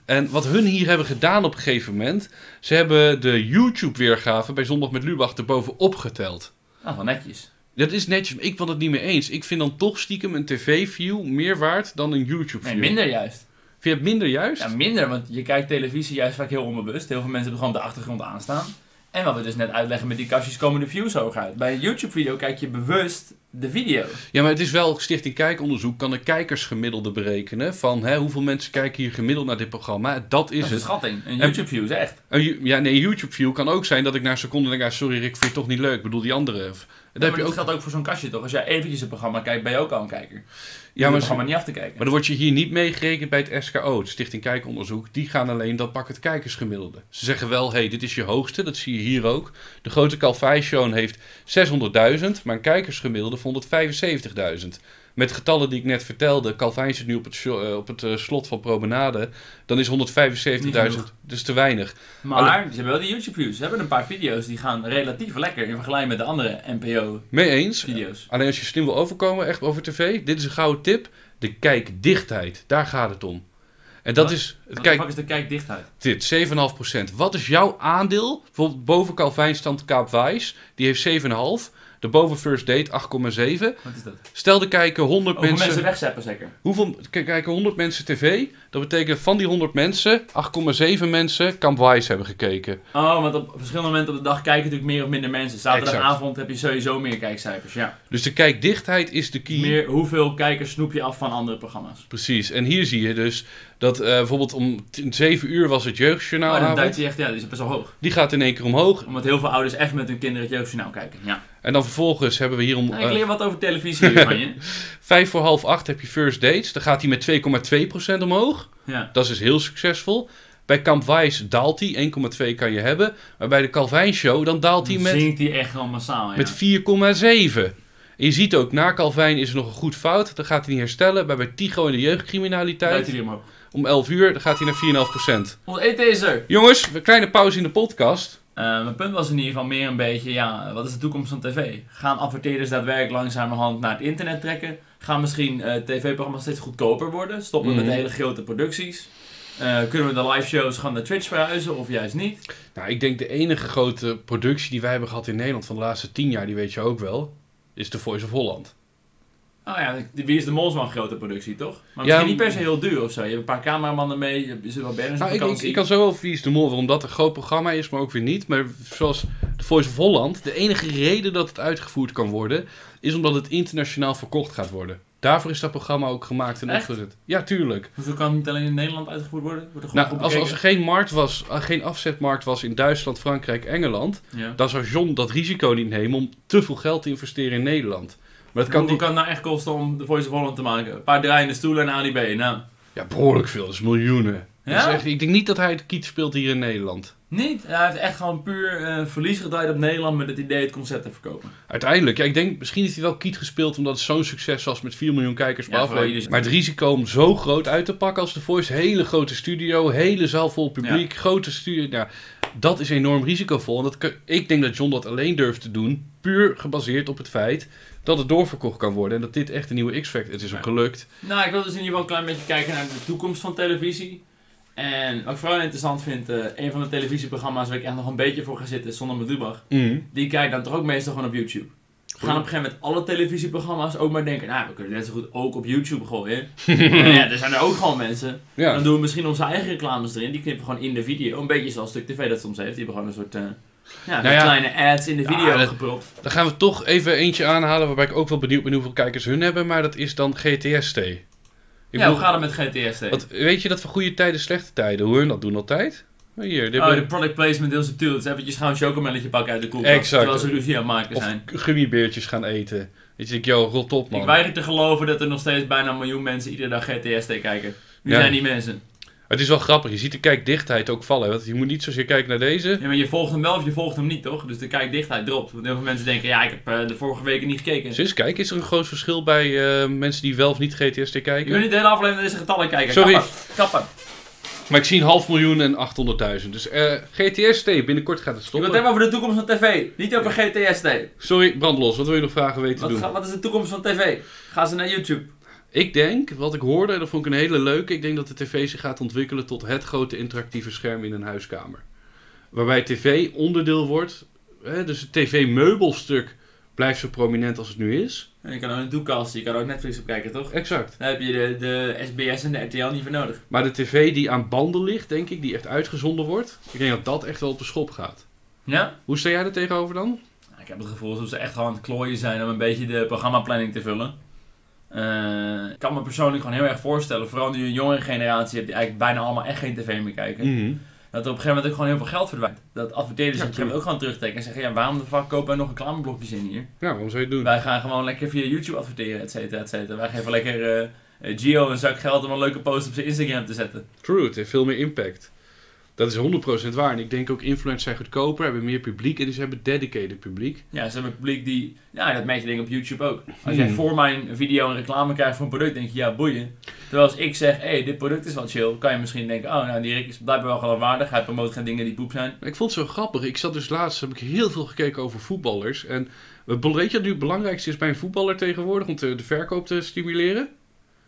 En wat hun hier hebben gedaan op een gegeven moment... ze hebben de YouTube-weergave bij Zondag met Lubach erbovenop geteld. Nou, wel netjes. Dat is netjes, maar ik ben het niet mee eens. Ik vind dan toch stiekem een tv-view meer waard dan een YouTube-view. Nee, minder juist. Vind je het minder juist? Ja, minder, want je kijkt televisie juist vaak heel onbewust. Heel veel mensen hebben gewoon op de achtergrond aanstaan. En wat we dus net uitleggen met die kastjes komen de views hoog uit. Bij een YouTube-video kijk je bewust de video. Ja, maar het is wel, Stichting Kijkonderzoek kan een kijkersgemiddelde berekenen... van hè, hoeveel mensen kijken hier gemiddeld naar dit programma. Dat Dat is is een het. schatting. Een YouTube-view is echt. Een Ju- ja, nee, YouTube-view kan ook zijn dat ik na een seconde denk... ah, sorry Rick, vind je toch niet leuk? Ik bedoel, die andere... Dat Ja, heb maar je dat ook... geldt ook voor zo'n kastje toch? Als jij eventjes een programma kijkt, ben je ook al een kijker. Je hoeft Ja, het maar, programma niet af te kijken. maar dan word je hier niet meegerekend bij het SKO, het Stichting Kijkonderzoek. Die gaan alleen dat pakket kijkersgemiddelde. Ze zeggen wel, hé, hey, dit is je hoogste, dat zie je hier ook. De grote Calvai-show heeft 600.000, maar een kijkersgemiddelde van 175.000. Met getallen die ik net vertelde, Calvijn zit nu op het, sho- eh, op het eh, slot van Promenade, dan is 175.000, Niet genoeg. dus te weinig. Maar, ze hebben wel die YouTube-views. Ze hebben een paar video's die gaan relatief lekker in vergelijking met de andere NPO-video's. Mee eens? Alleen als je slim wil overkomen, echt over tv, dit is een gouden tip. De kijkdichtheid, daar gaat het om. En dat Wat? is, het Wat de kijk, fuck is de kijkdichtheid? dit, 7,5%. Wat is jouw aandeel? Bijvoorbeeld boven Calvijn stand Kaap Wijs, die heeft 7,5. Daarboven First Date 8,7. Wat is dat? Stel er kijken 100 Over mensen, mensen wegzappen zeker. Hoeveel k- kijken 100 mensen tv? Dat betekent van die 100 mensen, 8,7 mensen Kamp Wijs hebben gekeken. Oh, want op verschillende momenten op de dag kijken natuurlijk meer of minder mensen. Zaterdagavond heb je sowieso meer kijkcijfers, ja. Dus de kijkdichtheid is de key. Meer hoeveel kijkers snoep je af van andere programma's. Precies. En hier zie je dus dat eh, bijvoorbeeld om t- 7 uur was het jeugdjournaal. Nou, dan duikt hij echt, ja, die is best wel hoog. Die gaat in één keer omhoog. Omdat heel veel ouders echt met hun kinderen het jeugdjournaal kijken, ja. En dan vervolgens hebben we hier om Nou, ik eh, leer wat over televisie hier van je. (laughs) vijf voor half acht heb je First Dates. Dan gaat hij met 2,2% omhoog. Ja. Dat is dus heel succesvol. Bij Kamp Wijs daalt die, 1,2 kan je hebben. Maar bij de Calvijn Show, dan daalt die Dan met zinkt die echt gewoon massaal, ja. met 4,7. En je ziet ook, na Calvijn is er nog een goed fout. Dan gaat hij niet herstellen. Maar bij Tigo in de Buiten jeugdcriminaliteit, die omhoog. om 11 uur, dan gaat hij naar 4,5%. Ons eten is er. Jongens, een kleine pauze in de podcast. Eh, mijn punt was in ieder geval meer een beetje, ja, wat is de toekomst van tv? Gaan adverteerders daadwerkelijk langzamerhand naar het internet trekken? Gaan misschien eh, tv-programma's steeds goedkoper worden? Stoppen we Mhm. met hele grote producties? Eh, kunnen we de live shows gewoon naar Twitch verhuizen of juist niet? Nou, ik denk de enige grote productie die wij hebben gehad in Nederland van de laatste 10 jaar, die weet je ook wel, is The Voice of Holland. Nou ja, die- Wie is de Mol is wel een grote productie, toch? Maar Ja, misschien niet per se heel duur of zo. Je hebt een paar cameramannen mee, je zit wel banners op Nou, ik, ik, vakantie. ik kan zo wel Wie is de Mol, waarom dat een groot programma is, maar ook weer niet. Maar zoals The Voice of Holland, de enige reden dat het uitgevoerd kan worden, is omdat het internationaal verkocht gaat worden. Daarvoor is dat programma ook gemaakt en Echt? opgezet. Ja, tuurlijk. Hoezo kan het niet alleen in Nederland uitgevoerd worden? Wordt er gewoon Nou, goed als, als er bekeken? geen markt was, eh, geen afzetmarkt was in Duitsland, Frankrijk, Engeland, Ja. dan zou John dat risico niet nemen om te veel geld te investeren in Nederland. Maar dat Hoeveel kan die... kan het nou echt kosten om de Voice of Holland te maken? Een paar draaiende stoelen en Ali B. Nou, Ja, behoorlijk veel. Dat is miljoenen. Dat is Ja? echt- ik denk niet dat hij het kiet speelt hier in Nederland. Niet? Hij heeft echt gewoon puur eh, verlies gedraaid op Nederland met het idee het concept te verkopen. Uiteindelijk, ja, ik denk, misschien is hij wel kiet gespeeld omdat het zo'n succes was met 4 miljoen kijkers per Ja, vooral aflevering. jullie- Maar het risico om zo groot uit te pakken als The Voice, hele grote studio, hele zaal vol publiek, grote studio, nou, dat is enorm risicovol. En dat, kan- ik denk dat John dat alleen durft te doen, puur gebaseerd op het feit dat het doorverkocht kan worden en dat dit echt een nieuwe X-Factor is. Het is hem Ja. gelukt. Nou, ik wil dus in ieder geval een klein beetje kijken naar de toekomst van televisie. En wat ik vooral interessant vind, eh, een van de televisieprogramma's waar ik echt nog een beetje voor ga zitten is Zonder met Lubach. Die kijk ik dan toch ook meestal gewoon op YouTube. We gaan op een gegeven moment alle televisieprogramma's ook maar denken, nou, we kunnen net zo goed ook op YouTube (laughs) gooien. Maar ja, er zijn er ook gewoon mensen. Ja. Dan doen we misschien onze eigen reclames erin, die knippen we gewoon in de video. Een beetje zoals Stuk TV dat soms heeft, die hebben gewoon een soort... eh, ja, Nou ja. kleine ads in de Ja, video dat- gepropt. Dan gaan we toch even eentje aanhalen waarbij ik ook wel benieuwd ben hoeveel kijkers hun hebben, maar dat is dan GTST. Ik ja, bedoel- hoe gaat het met GTSD? Wat, weet je dat van goede tijden, slechte tijden, hoe hun dat doen altijd? Hier, dit Oh, de product placement heel subtiel. Het is eventjes gewoon een chocomelletje pakken uit de koelkast. Exact. Terwijl ze ruzie aan het maken of zijn. gummibeertjes gaan eten. Weet je, ik, joh, rot op man. Ik weiger te geloven dat er nog steeds bijna een miljoen mensen iedere dag GTSD kijken. Wie Ja. zijn die mensen? Het is wel grappig, je ziet de kijkdichtheid ook vallen. Want je moet niet zozeer kijken naar deze. Ja, maar je volgt hem wel of je volgt hem niet, toch? Dus de kijkdichtheid dropt. Want heel veel mensen denken, ja, ik heb eh, de vorige weken niet gekeken. Dus kijk, is er een groot verschil bij eh, mensen die wel of niet GTSD Je wil kijken? niet de hele aflevering naar deze getallen kijken. Sorry. Kappen. Kappen. Maar ik zie een half miljoen en 800.000. Dus eh GTSD, binnenkort gaat het Ik wil het stoppen. hebben over de toekomst van tv. Niet over GTSD. Sorry, brandlos, wat wil je nog vragen weten Wat, doen? ga- wat is de toekomst van tv? Gaan ze naar YouTube? Ik denk, wat ik hoorde, en dat vond ik een hele leuke. Ik denk dat de tv zich gaat ontwikkelen tot het grote interactieve scherm in een huiskamer. Waarbij tv onderdeel wordt. Hè, dus het tv-meubelstuk blijft zo prominent als het nu is. En je kan ook een doekast, je kan ook Netflix op kijken, toch? Exact. Daar heb je de, de SBS en de RTL niet voor nodig. Maar de tv die aan banden ligt, denk ik, die echt uitgezonden wordt. Ik denk dat dat echt wel op de schop gaat. Ja? Hoe sta jij er tegenover dan? Ik heb het gevoel alsof ze echt gewoon aan het klooien zijn om een beetje de programmaplanning te vullen. Eh, ik kan me persoonlijk gewoon heel erg voorstellen, vooral nu een jongere generatie hebt die eigenlijk bijna allemaal echt geen tv meer kijken, dat er op een gegeven moment ook gewoon heel veel geld verdwijnt. Dat adverteerders Ja, dat je ook gewoon terugtrekken en zeggen, ja waarom de fuck kopen wij nog reclameblokjes in hier? Ja, waarom zou je het doen? Wij gaan gewoon lekker via YouTube adverteren, et cetera, et cetera. Wij geven lekker eh, eh, Gio een zak geld om een leuke post op zijn Instagram te zetten. True, het heeft veel meer impact. Dat is 100% waar. En ik denk ook influencers zijn goedkoper, hebben meer publiek en dus hebben dedicated publiek. Ja, ze hebben een publiek die... Ja, dat merk je denk ik op YouTube ook. Als jij Hmm. voor mijn video een reclame krijgt voor een product, denk je, ja, boeien. Terwijl als ik zeg, hé, hey, dit product is wel chill, kan je misschien denken, oh, nou, die Rick is blijkbaar wel geloofwaardig. Hij promoot geen dingen die poep zijn. Maar Ik vond het zo grappig. Ik zat dus laatst, heb ik heel veel gekeken over voetballers. En het bel- weet je wat nu het belangrijkste is bij een voetballer tegenwoordig om te, de verkoop te stimuleren?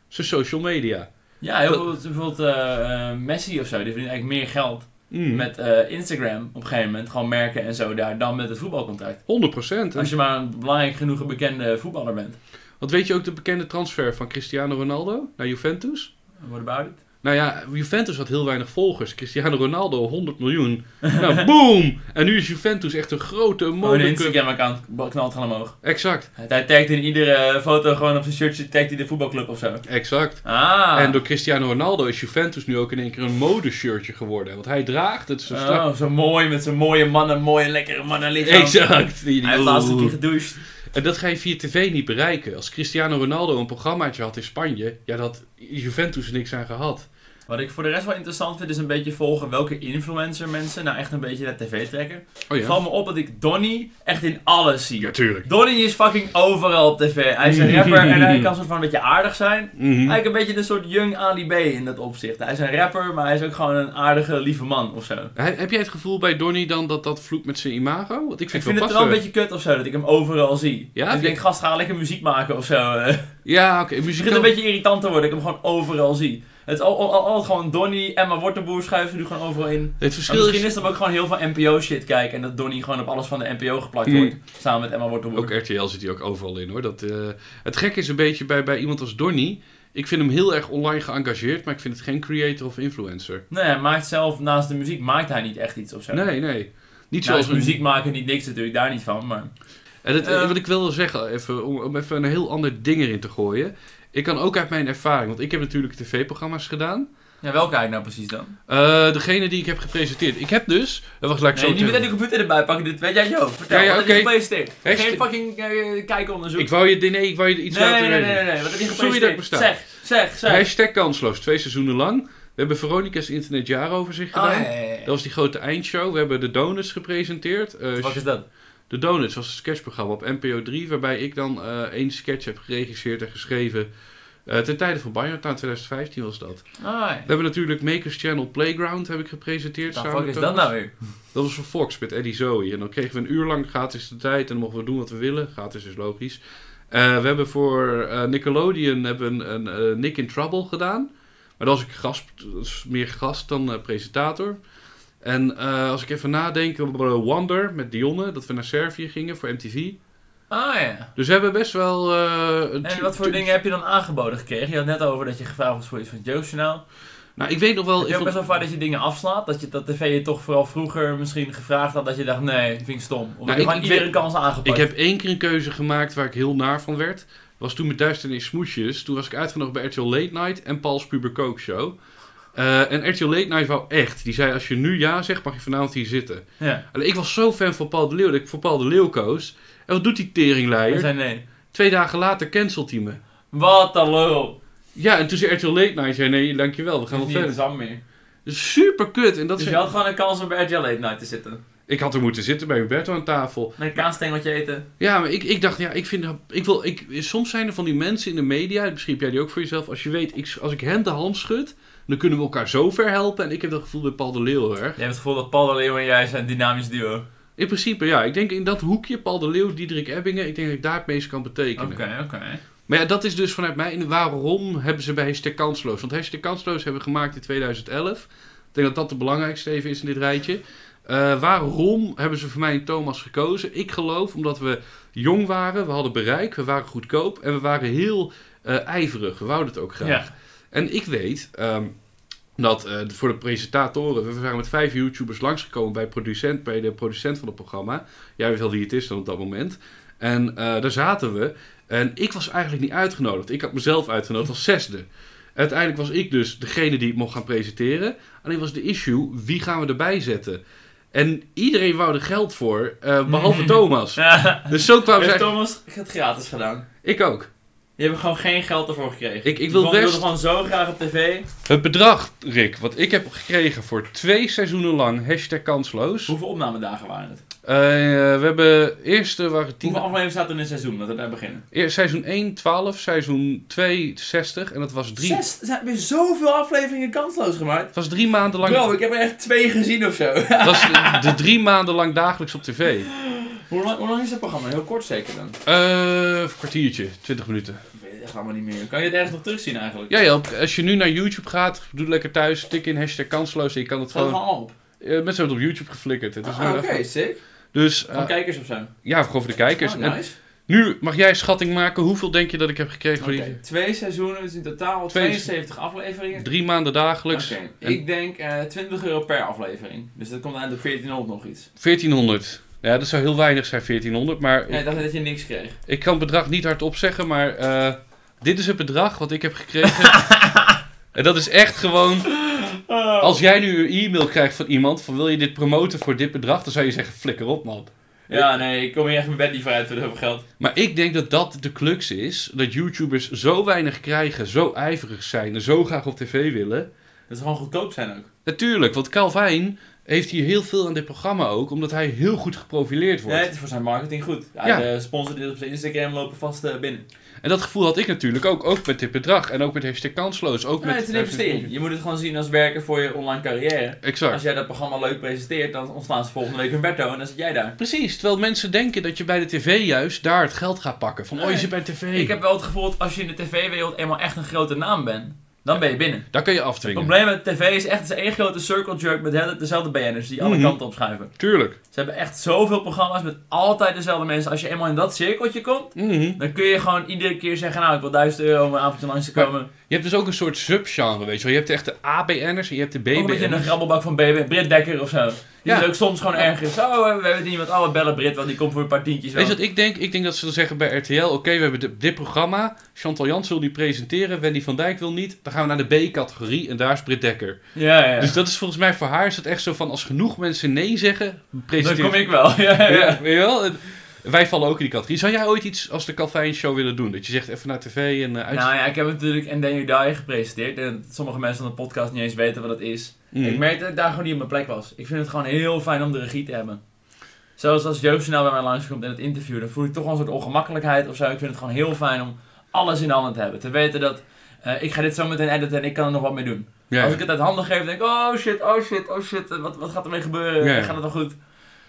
Zijn social media. Ja, heel Dat- veel, bijvoorbeeld eh, eh, Messi of zo, die verdient eigenlijk meer geld Mm. met eh, Instagram op een gegeven moment, gewoon merken en zo daar, dan met het voetbalcontract. 100%. Als je maar een belangrijk genoeg bekende voetballer bent. Want weet je ook de bekende transfer van Cristiano Ronaldo naar Juventus? What about it? Nou ja, Juventus had heel weinig volgers. Cristiano Ronaldo 100 (laughs) miljoen. Nou, boom! En nu is Juventus echt een grote Gewoon Oh, een modeclub. Instagram-account knalt gewoon omhoog. Exact, Hij tagt in iedere eh, foto gewoon op zijn shirtje, tagt hij de voetbalclub of zo. exact. Ah. En door Cristiano Ronaldo is Juventus nu ook in één keer een modeshirtje geworden. Want hij draagt het zo strak. Oh, zo mooi met zijn mooie mannen, mooie lekkere mannen lichaam. Exact. Die- die- Hij heeft laatst een Oeh. keer gedoucht. En dat ga je via tv niet bereiken. Als Cristiano Ronaldo een programmaatje had in Spanje, ja, dat Juventus er niks aan gehad. Wat ik voor de rest wel interessant vind, is een beetje volgen welke influencer mensen nou echt een beetje naar tv trekken. Oh Het ja. valt me op dat ik Donny echt in alles zie. Ja, tuurlijk. Donnie is fucking overal op tv. Hij is een rapper en hij kan soort van een beetje aardig zijn. Mhm. Eigenlijk een beetje een soort young Ali B in dat opzicht. Hij is een rapper, maar hij is ook gewoon een aardige, lieve man of zo. He- Heb jij het gevoel bij Donnie dan dat dat vloekt met zijn imago? Want ik Ik vind, vind wel het wel een passen. beetje kut of zo dat ik hem overal zie. Ja, dus ik vind- denk, gast, ga lekker muziek maken of zo. (laughs) Het Ja, oké. begint een muzikaal. beetje irritant te worden dat ik hem gewoon overal zie. Het is al, al, al- altijd gewoon Donnie, Emma Wortelboer schuiven ze nu gewoon overal in. Het Maar verschil misschien is... is dat we ook gewoon heel veel NPO shit kijken en dat Donnie gewoon op alles van de NPO geplakt Mm. wordt. Samen met Emma Wortelboer. Ook RTL zit hier ook overal in, hoor. Dat, eh, het gekke is een beetje bij, bij iemand als Donnie... Ik vind hem heel erg online geëngageerd, maar ik vind het geen creator of influencer. Nee, hij maakt zelf naast de muziek maakt hij niet echt iets of zo. Nee, nee. Niet Nou, zoals is een- muziek maken niet niks natuurlijk, daar niet van, maar... En het, Eh. wat ik wil zeggen, even, om, om even een heel ander ding erin te gooien. Ik kan ook uit mijn ervaring, want ik heb natuurlijk tv-programma's gedaan. Ja, welke eigenlijk nou precies dan? Eh, degene die ik heb gepresenteerd. Ik heb dus. Dat was laat ik Nee, zo niet meteen zeggen. de computer erbij pakken, dit weet jij zo. Vertel, Ja, ja, wat oké. heb je gepresteerd? Geen Hashtag- fucking eh, kijkonderzoek. Ik wou je, nee, ik wou je iets nee, laten nee, nee, weten. nee, nee, wat heb je Sorry dat ik gepresteerd? besta. Zeg, zeg, zeg. Hashtag kansloos, twee seizoenen lang. We hebben Veronica's Internet Jaaroverzicht Ah, gedaan. ja, ja, ja. Dat was die grote eindshow. We hebben de Donuts gepresenteerd. Eh, Wat is dat? De Donuts was een sketchprogramma op NPO 3, waarbij ik dan eh, één sketch heb geregisseerd en geschreven. Eh, ten tijde van Bayonetta 2015 was dat. Ah, ja. We hebben natuurlijk Makers Channel Playground heb ik gepresenteerd. Nou, samen fuck is met dat Thomas. nou weer? Dat was voor Fox met Eddie Zoe. En dan kregen we een uur lang gratis de tijd en dan mochten we doen wat we willen. Gratis is logisch. Eh, we hebben voor eh, Nickelodeon hebben we een, een eh, Nick in Trouble gedaan. Maar dat was ik gast, was meer gast dan eh, presentator. En eh, als ik even nadenk, we hadden Wonder met Dionne, dat we naar Servië gingen voor MTV. Ah ja. Dus we hebben best wel... eh, een En wat voor tu- dingen heb je dan aangeboden gekregen? Je had net over dat je gevraagd was voor iets van het Joostjournaal. Nou, ik weet nog wel... Het is ik ook vond- best wel vaak dat je dingen afslaat. Dat, je, dat tv je toch vooral vroeger misschien gevraagd had dat je dacht, nee, vind ik stom. Of Nou, heb ik- je gewoon ik iedere weet- kans aangepakt. Ik heb één keer een keuze gemaakt waar ik heel naar van werd. Was toen met Duisternis Smoesjes. Toen was ik uitgenodigd bij RTL Late Night en Paul's Puber Coke Show. Eh, en RTL Late Night wou echt. Die zei, als je nu ja zegt, mag je vanavond hier zitten. Ja, Alleen, ik was zo fan van Paul de Leeuw dat ik voor Paul de Leeuw koos. En wat doet die hij teringleier? zei nee. Twee dagen later cancelt hij me. Wat een lul. Ja, en toen zei RTL Late Night, zei nee, dankjewel, we gaan Dat wel is niet verder. interessant meer. Super kut. En dat dus is- je had gewoon een kans om bij RTL Late Night te zitten. Ik had er moeten zitten bij Huberto aan tafel. Met een kaasstengeltje eten. Ja, maar ik, ik dacht, ja, ik vind, ik wil, ik, soms zijn er van die mensen in de media, misschien heb jij die ook voor jezelf, als je weet, ik, als ik hen de hand schud, dan kunnen we elkaar zo ver helpen. En ik heb dat gevoel bij Paul de Leeuw heel erg. Je hebt het gevoel dat Paul de Leeuw en jij zijn dynamisch duo. Oké, In principe, ja, ik denk in dat hoekje, Paul de Leeuw, Diederik Ebbingen, ik denk dat ik daar het meest kan betekenen. oké. (laughs) (laughs) Maar ja, dat is dus vanuit mij, en waarom hebben ze bij Hashtag Kansloos? Want Hashtag Kansloos hebben we gemaakt in 2011. Ik denk dat dat de belangrijkste even is in dit rijtje. Eh, waarom hebben ze voor mij en Thomas gekozen? Ik geloof omdat we jong waren, we hadden bereik, we waren goedkoop en we waren heel eh, ijverig. We wouden het ook graag. Ja. En ik weet ehm, dat eh, voor de presentatoren, we waren met vijf YouTubers langsgekomen bij, producent, bij de producent van het programma. Jij weet wel wie het is dan op dat moment. En eh, daar zaten we. En ik was eigenlijk niet uitgenodigd. Ik had mezelf uitgenodigd als zesde. Uiteindelijk was ik dus degene die het mocht gaan presenteren. Alleen was de issue, wie gaan we erbij zetten? En iedereen wou er geld voor, eh, (laughs) behalve Thomas. Dus zo kwamen Heeft ze... Thomas het gratis gedaan? Ik ook. Je hebt er gewoon geen geld ervoor gekregen. Ik- ik wil Je vond- best- wilde gewoon zo graag op tv. Het bedrag, Rick, wat ik heb gekregen voor twee seizoenen lang, hashtag kansloos. Hoeveel opnamedagen waren het? Eh, we hebben eerste waren tien. Hoeveel afleveringen staat er in een seizoen? Dat we daar beginnen. eer- seizoen 1, 12, seizoen 2, 60. En dat was drie, Zes? Ze hebben zoveel afleveringen kansloos gemaakt. het was drie maanden lang. Bro, ik heb er echt twee gezien of (laughs) zo. het was de, de drie maanden lang dagelijks op tv. hoe, lang, hoe lang is dat programma? Heel kort zeker dan. Eh, een kwartiertje, 20 minuten. Ik weet het echt allemaal niet meer. Kan je het ergens nog terugzien eigenlijk? Ja, ja, als je nu naar YouTube gaat, doe het lekker thuis, tik in hashtag kansloos en je kan het Staat het gewoon... allemaal op? Eh, mensen hebben het op YouTube geflikkerd. Het is nu Ah, Oké, echt- sick. Dus Van eh, kijkers of zo. ja, gewoon voor de kijkers. Oh, En nice. nu mag jij schatting maken, hoeveel denk je dat ik heb gekregen voor Oké, die Twee seizoenen, dus in totaal Twee- 72 afleveringen. drie maanden dagelijks? Oké, En- ik denk eh 20 euro per aflevering. Dus dat komt aan op 1400 nog iets. 1400. Ja, dat zou heel weinig zijn, 1400. Maar Nee, ik, ik dacht dat je niks kreeg. ik kan het bedrag niet hardop zeggen, maar eh, dit is het bedrag wat ik heb (laughs) gekregen. en dat is echt gewoon... Oh. Als jij nu een e-mail krijgt van iemand van wil je dit promoten voor dit bedrag, dan zou je zeggen flikker op man. Ja, nee, ik kom hier echt mijn bed niet vooruit voor zoveel geld. Maar ik denk dat dat de crux is, dat YouTubers zo weinig krijgen, zo ijverig zijn en zo graag op tv willen, Dat is gewoon goedkoop zijn ook. Natuurlijk, want Calvin heeft hier heel veel aan dit programma ook, omdat hij heel goed geprofileerd wordt. Nee, het is voor zijn marketing goed. Hij Ja. eh, sponsort dit op zijn Instagram, lopen vast eh, binnen. En dat gevoel had ik natuurlijk ook, ook met dit bedrag en ook met hashtag kansloos. Ook Nee, met, het is een investering. Je moet het gewoon zien als werken voor je online carrière. Exact. Als jij dat programma leuk presenteert, dan ontstaan ze volgende week Humberto en dan zit jij daar. Precies, terwijl mensen denken dat je bij de tv juist daar het geld gaat pakken. Van, oh je Nee. zit bij de tv. Ik heb wel het gevoel dat als je in de tv-wereld eenmaal echt een grote naam bent, dan ben je binnen. Daar kun je Het afdwingen. probleem met tv is echt het is één grote circle jerk met hele- dezelfde BN'ers die alle Mhm. kanten opschuiven. Tuurlijk. Ze hebben echt zoveel programma's met altijd dezelfde mensen. Als je eenmaal in dat cirkeltje komt, Mhm. dan kun je gewoon iedere keer zeggen, nou ik wil 1000 euro om een avondje langs te komen. Je hebt dus ook een soort subgenre, weet je wel. Je hebt echt de ABN'ers en je hebt de Ook een beetje een BBN'ers. grabbelbak van BB, Britt Dekker of zo. Die Ja. is ook soms gewoon ergens. Oh, eh, we hebben iemand. Oh, we bellen Britt, want die komt voor een paar tientjes wel. Weet je wat ik denk? Ik denk dat ze dan zeggen bij RTL, oké, we hebben dit- dit programma. Chantal Jans wil die presenteren, Wendy van Dijk wil niet. Dan gaan we naar de B-categorie en daar is Britt Dekker. Ja, ja. Dus dat is volgens mij voor haar is dat echt zo van, als genoeg mensen nee zeggen, Dan presenteer kom ik wel. (laughs) Ja, ja. Ja, weet je wel? En Wij vallen ook in die categorie. Zou jij ooit iets als de Calvin Show willen doen? Dat je zegt even naar tv en eh uit... Nou ja, ik heb natuurlijk And Then You Die gepresenteerd. En sommige mensen van de podcast niet eens weten wat dat is. Mm. Ik merkte dat ik daar gewoon niet op mijn plek was. Ik vind het gewoon heel fijn om de regie te hebben. Zelfs als Joostjournaal bij mij langskomt in het interview, dan voel ik toch wel een soort ongemakkelijkheid of zo. Ik vind het gewoon heel fijn om alles in de handen te hebben. Te weten dat eh, ik ga dit zo meteen editen en ik kan er nog wat mee doen. Ja. Als ik het uit handen geef, denk ik, oh shit, oh shit, oh shit, eh, wat, wat gaat ermee gebeuren? Ja. Gaat het wel goed?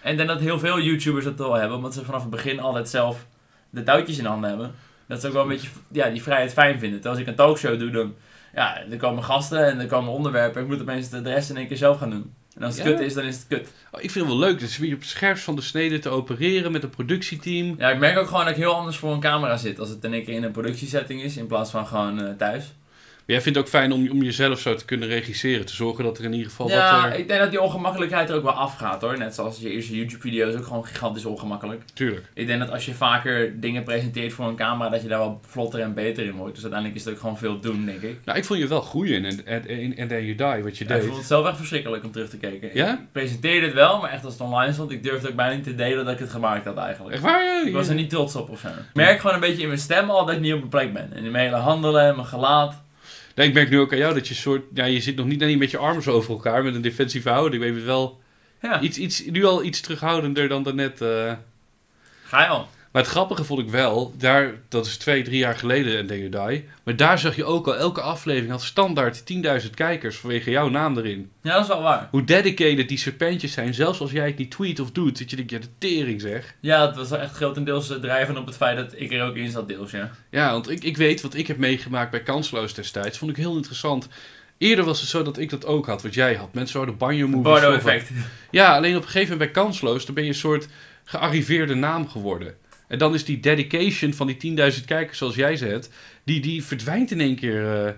En ik denk dat heel veel YouTubers dat wel hebben, omdat ze vanaf het begin altijd zelf de touwtjes in handen hebben. Dat ze ook wel een beetje ja, die vrijheid fijn vinden. Terwijl als ik een talkshow doe, dan ja, er komen gasten en er komen onderwerpen. Ik moet opeens de de rest in één keer zelf gaan doen. En als het Ja. kut is, dan is het kut. Oh, ik vind het wel leuk. Dus weer op het scherpst van de snede te opereren met een productieteam. Ja, ik merk ook gewoon dat ik heel anders voor een camera zit als het in één keer in een productiesetting is, in plaats van gewoon eh, thuis. Maar jij vindt het ook fijn om, om jezelf zo te kunnen regisseren. Te zorgen dat er in ieder geval ja, wat... eh, Er... ik denk dat die ongemakkelijkheid er ook wel afgaat hoor. Net zoals je eerste YouTube-video's ook gewoon gigantisch ongemakkelijk. Tuurlijk. Ik denk dat als je vaker dingen presenteert voor een camera, dat je daar wel vlotter en beter in wordt. Dus uiteindelijk is het ook gewoon veel doen, denk ik. Nou, ik vond je wel goed in. En en- en- en Then You Die, wat je Ja, ik vond deed. het zelf echt verschrikkelijk om terug te kijken. Ja? Ik presenteerde het wel, maar echt als het online stond, ik durfde ook bijna niet te delen dat ik het gemaakt had eigenlijk. Echt waar? ja? Ik was er niet trots op of zo. Ik merk gewoon een beetje in mijn stem al dat ik niet op mijn plek ben. En in mijn hele handelen, in mijn gelaat. Nee, ik merk nu ook aan jou dat je soort... Ja, je zit nog niet, niet met je armen zo over elkaar. Met een defensieve houding. Ik weet het wel. Ja, Iets, iets, nu al iets terughoudender dan daarnet. eh ga je al. Maar het grappige vond ik wel, daar, dat is twee, drie jaar geleden en Day Die. Maar daar zag je ook al, elke aflevering had standaard 10.000 kijkers vanwege jouw naam erin. Ja, dat is wel waar. Hoe dedicated die serpentjes zijn, zelfs als jij het niet tweet of doet, dat je denkt, ja, de tering zeg. Ja, het was wel echt grotendeels eh, drijven op het feit dat ik er ook in zat deels, ja. Ja, want ik, ik weet wat ik heb meegemaakt bij Kansloos destijds, vond ik heel interessant. Eerder was het zo dat ik dat ook had, wat jij had. Mensen zouden banjo movies Bardo volgen. effect. Ja, alleen op een gegeven moment bij Kansloos, dan ben je een soort gearriveerde naam geworden. En dan is die dedication van die 10.000 kijkers zoals jij ze hebt, die, die verdwijnt in één keer. eh,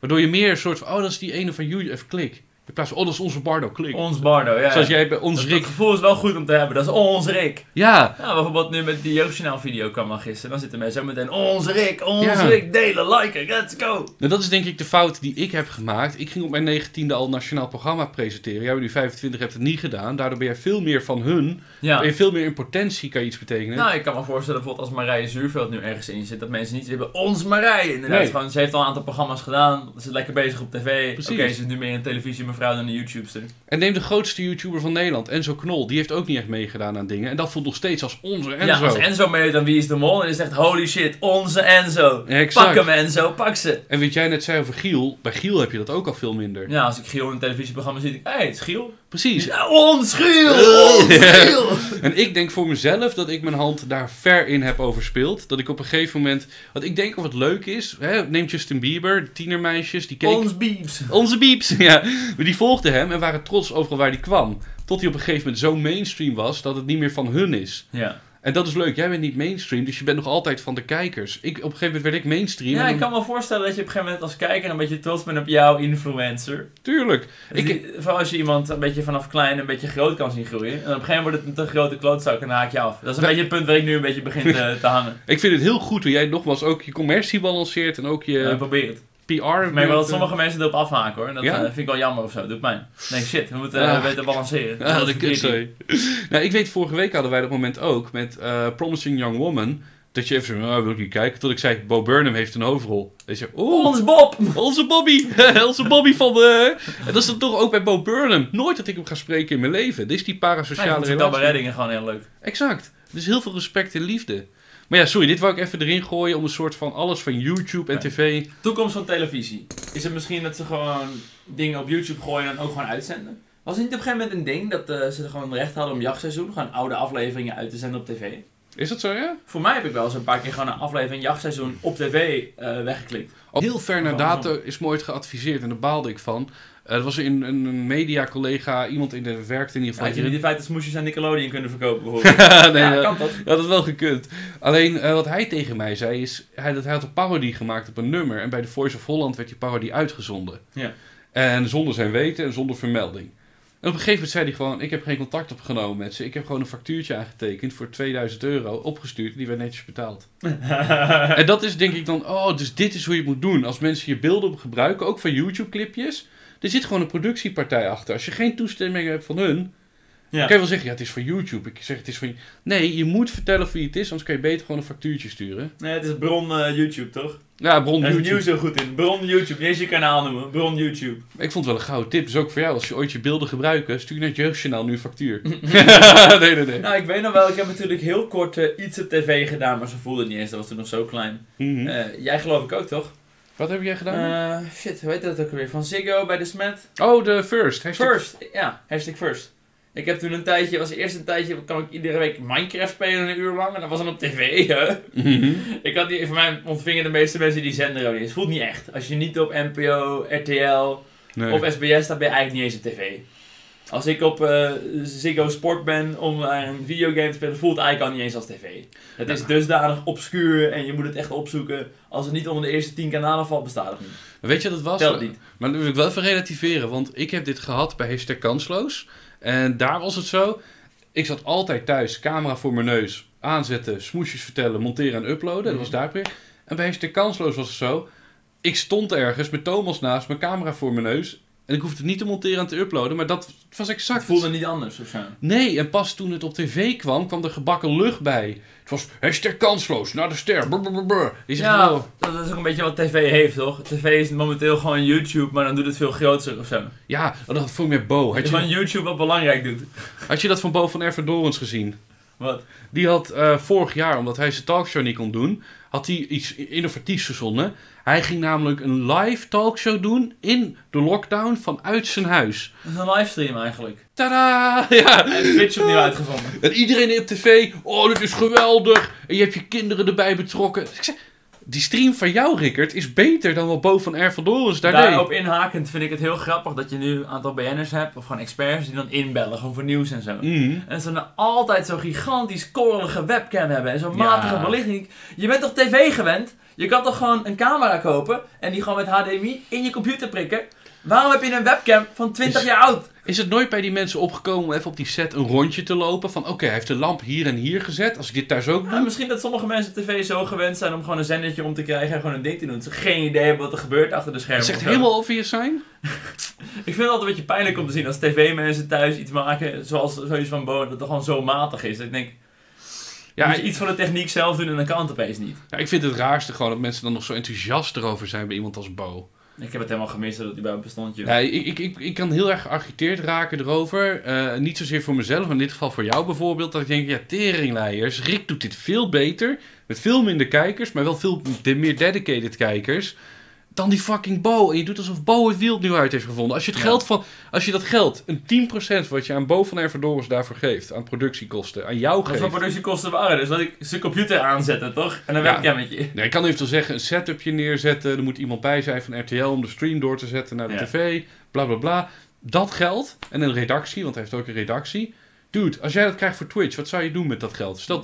waardoor je meer een soort van, oh dat is die ene van jullie, even klik. In plaats van, oh dat is onze Bardo, klik. Ons Bardo, ja. zoals jij bij ons Dat- Rick. Dat gevoel is wel goed om te hebben. Dat is ons Rick. Ja, Nou, bijvoorbeeld nu met die Joostjournaal video kwam al gisteren. Dan zitten mensen zo meteen ons Rick, ons Ja. Rick, delen, liken, let's go. nou, dat is denk ik de fout die ik heb gemaakt. Ik ging op mijn 19e al een nationaal programma presenteren. Jij bent nu 25, hebt het niet gedaan. Daardoor ben jij veel meer van hun. Ben Ja. je veel meer in potentie, kan je iets betekenen. Nou, ik kan me voorstellen bijvoorbeeld als Marije Zuurveld nu ergens in zit, dat mensen niet hebben ons Marije. Inderdaad, Nee. gewoon, ze heeft al een aantal programma's gedaan, ze is lekker bezig op tv. Oké, Precies. ze is nu meer een televisie mevrouw dan een YouTubester. En neem de grootste YouTuber van Nederland, Enzo Knol. Die heeft ook niet echt meegedaan aan dingen. En dat voelt nog steeds als onze Enzo. Ja, als Enzo meedoet dan Wie is de Mol, dan is het echt holy shit, onze Enzo. Exact. Pak hem Enzo, pak ze. En wat jij net zei over Giel, bij Giel heb je dat ook al veel minder. Ja, als ik Giel in een televisieprogramma zie, denk ik, hé, hey, het is Giel. Precies. Ja, ons (laughs) Giel, ons Giel. En ik denk voor mezelf dat ik mijn hand daar ver in heb overspeeld. Dat ik op een gegeven moment... Wat ik denk of het leuk is... Hè, neem Justin Bieber, de tienermeisjes, die keken... Ons Biebs. Onze bieps, ja. Maar die volgden hem en waren trots overal waar hij kwam. Tot hij op een gegeven moment zo mainstream was dat het niet meer van hun is. Ja. En dat is leuk. Jij bent niet mainstream, dus je bent nog altijd van de kijkers. Ik, op een gegeven moment werd ik mainstream. Ja, en ik dan- kan me voorstellen dat je op een gegeven moment als kijker een beetje trots bent op jouw influencer. Tuurlijk. Dus Ik- die- vooral als je iemand een beetje vanaf klein een beetje groot kan zien groeien. En op een gegeven moment wordt het een te grote klootzak en dan haak je af. Dat is een Dat- beetje het punt waar ik nu een beetje begin te, te (laughs) hangen. Ik vind het heel goed hoe jij nogmaals ook je commercie balanceert en ook je Ja, probeer het. PR. Ik merk wel dat sommige mensen erop afhaken hoor. En dat eh. Ja? eh, vind ik wel jammer of zo. Doet mij. Nee, shit, we moeten Ah. eh, beter balanceren. Ah, Dat de is verkeerd hier. (laughs) kutzooi. nou, ik weet, vorige week hadden wij dat moment ook met eh, Promising Young Woman. Dat je even zo, nou, wil ik niet kijken. Tot ik zei, Bo Burnham heeft een hoofdrol. En je, "Oh, oeh, Ons Bob! onze Bobby. (laughs) onze Bobby van de... En dat is dan toch ook bij Bo Burnham. Nooit dat ik hem ga spreken in mijn leven. Dit is die Ja, parasociale ik vind relatie. Reddingen gewoon heel leuk. Exact. Dus heel veel respect en liefde. Maar ja, sorry, dit wou ik even erin gooien om een soort van alles van YouTube en Nee. tv. Toekomst van televisie. Is het misschien dat ze gewoon dingen op YouTube gooien en ook gewoon uitzenden? Was het niet op een gegeven moment een ding dat eh, ze gewoon recht hadden om jachtseizoen gewoon oude afleveringen uit te zenden op tv? Is dat zo, ja? Voor mij heb ik wel eens een paar keer gewoon een aflevering jachtseizoen op tv eh, weggeklikt. Heel ver naar Oh, data is me ooit geadviseerd en daar baalde ik van. Eh er was een, een, een media-collega, iemand in de werkte in ieder geval. Had je niet hierin. in feite smoesjes aan Nickelodeon kunnen verkopen bijvoorbeeld? (laughs) nee, ja, eh, kan dat. (laughs) Je had het wel gekund. Alleen eh, wat hij tegen mij zei is... Hij, dat hij had een parodie gemaakt op een nummer. En bij de Voice of Holland werd die parodie uitgezonden. Ja. En zonder zijn weten en zonder vermelding. En op een gegeven moment zei hij gewoon... Ik heb geen contact opgenomen met ze. Ik heb gewoon een factuurtje aangetekend voor 2000 euro. Opgestuurd en die werd netjes betaald. en dat is denk ik dan... Oh, dus dit is hoe je het moet doen. Als mensen je beelden gebruiken, ook van YouTube-clipjes... Er zit gewoon een productiepartij achter. Als je geen toestemming hebt van hun... (laughs) Ja. Dan kan je wel zeggen, ja, het is voor YouTube. Ik zeg, het is voor... Nee, je moet vertellen voor wie het is, anders kan je beter gewoon een factuurtje sturen. Nee, het is bron eh, YouTube toch? Ja, bron Daar is YouTube. nieuw zo goed in. Bron YouTube. Niet eens je kanaal noemen. Bron YouTube. (laughs) Ik vond het wel een gouden tip. Dus ook voor jou, als je ooit je beelden gebruikt, eh, stuur naar het Jeugdjournaal nu een factuur. (laughs) nee, nee, nee. Nou, ik weet nog wel, ik heb natuurlijk heel kort eh, iets op tv gedaan, maar ze voelde het niet eens, dat was toen nog zo klein. Mhm. Eh, jij geloof ik ook, toch? Wat heb jij gedaan? Eh, shit, hoe heet dat ook weer? Van Ziggo bij de Smet? oh, de first. Hashtag- First, ja, hashtag first. Ik heb toen een tijdje, was eerst een tijdje, kan ik iedere week Minecraft spelen een uur lang, en dat was dan op tv, (laughs) hè? Mhm. Ik had die, voor mij ontvingen de meeste mensen die zender ook niet eens. Voelt niet echt. Als je niet op NPO, RTL, Nee. Op SBS, daar ben je eigenlijk niet eens op tv. Als ik op eh, Ziggo Sport ben om eh, een videogame te spelen, voelt het eigenlijk al niet eens als tv. Het is dusdanig obscuur en je moet het echt opzoeken. Als het niet onder de eerste 10 kanalen valt, bestaat het niet. Maar Weet je wat het was? Telt niet. Maar dat wil ik wel even relativeren, want ik heb dit gehad bij hashtag kansloos. En daar was het zo. Ik zat altijd thuis, camera voor mijn neus, aanzetten, smoesjes vertellen, monteren en uploaden. Dat was Mhm. daar weer. En bij hashtag kansloos was het zo. Ik stond ergens met Thomas naast, mijn camera voor mijn neus. En ik hoefde het niet te monteren en te uploaden, maar dat was Het exact... voelde niet anders of zo. Nee, en pas toen het op tv kwam, kwam er gebakken lucht bij. Het was hashtag kansloos, naar de ster, brr, brr, brr, brr. Je zegt, Ja, wow. dat is ook een beetje wat tv heeft, toch? TV is momenteel gewoon YouTube, maar dan doet het veel groter of zo. ja, dat vond ik met Bo. Had Het is gewoon je, YouTube wat belangrijk doet. had je dat van Bo van Ervedorens gezien? Wat? Die had eh, vorig jaar, omdat hij zijn talkshow niet kon doen, had hij iets innovatiefs verzonnen. Hij ging namelijk een live talkshow doen in de lockdown vanuit zijn huis. Dat is een livestream eigenlijk. Tada! (laughs) Ja. Hij heeft Twitch opnieuw uitgevonden. En iedereen op tv, oh dit is geweldig. En je hebt je kinderen erbij betrokken. Dus ik zeg, die stream van jou, Rickert, is beter dan wat Bo van R. van Dorens daar deed. Daarop inhakend vind ik het heel grappig dat je nu een aantal BN'ers hebt, of gewoon experts, die dan inbellen, gewoon voor nieuws en zo. Mm. En ze dan altijd zo'n gigantisch korrelige webcam hebben en Ja. zo'n matige belichting. Je bent toch tv gewend? Je kan toch gewoon een camera kopen en die gewoon met HDMI in je computer prikken? Waarom heb je een webcam van 20 Is- jaar oud? Is het nooit bij die mensen opgekomen om even op die set een rondje te lopen? Van oké, hij heeft de lamp hier en hier gezet. Als ik dit thuis ook Ja, doe. misschien dat sommige mensen op tv zo gewend zijn om gewoon een zendertje om te krijgen en gewoon een ding te doen. Dat ze geen idee hebben wat er gebeurt achter de schermen. Het of zegt zo. helemaal obvious zijn. Ik vind het altijd een beetje pijnlijk om te zien als tv-mensen thuis iets maken zoals zoiets van Bo, dat het gewoon zo matig is. Dat ik denk, Ja, moet je iets van de techniek zelf doen en dan kan het opeens niet. Ja, ik vind het raarste gewoon dat mensen dan nog zo enthousiast erover zijn bij iemand als Bo. Ik heb het helemaal gemist dat het überhaupt bestond, joh. Ja, ik, ik, ik, ik kan heel erg geagiteerd raken erover. Eh, niet zozeer voor mezelf, maar in dit geval voor jou bijvoorbeeld. Dat ik denk, ja, teringleiers. Rick doet dit veel beter. Met veel minder kijkers, maar wel veel de- meer dedicated kijkers. Dan die fucking Bo. En je doet alsof Bo het wiel nu uit heeft gevonden. Als je, het Ja. geld van, als je dat geld, een 10% wat je aan Bo van Erverdoris daarvoor geeft. Aan productiekosten, aan jou Dat is geeft. wat productiekosten waren, dus dat ik zijn computer aanzetten, toch? En dan Ja. werk jij met je. Nee, ik kan eventueel zeggen, een setupje neerzetten. Er moet iemand bij zijn van RTL om de stream door te zetten naar de Ja. tv. Bla, bla, bla. Dat geld. En een redactie, want hij heeft ook een redactie. Dude, als jij dat krijgt voor Twitch, wat zou je doen met dat geld? Stel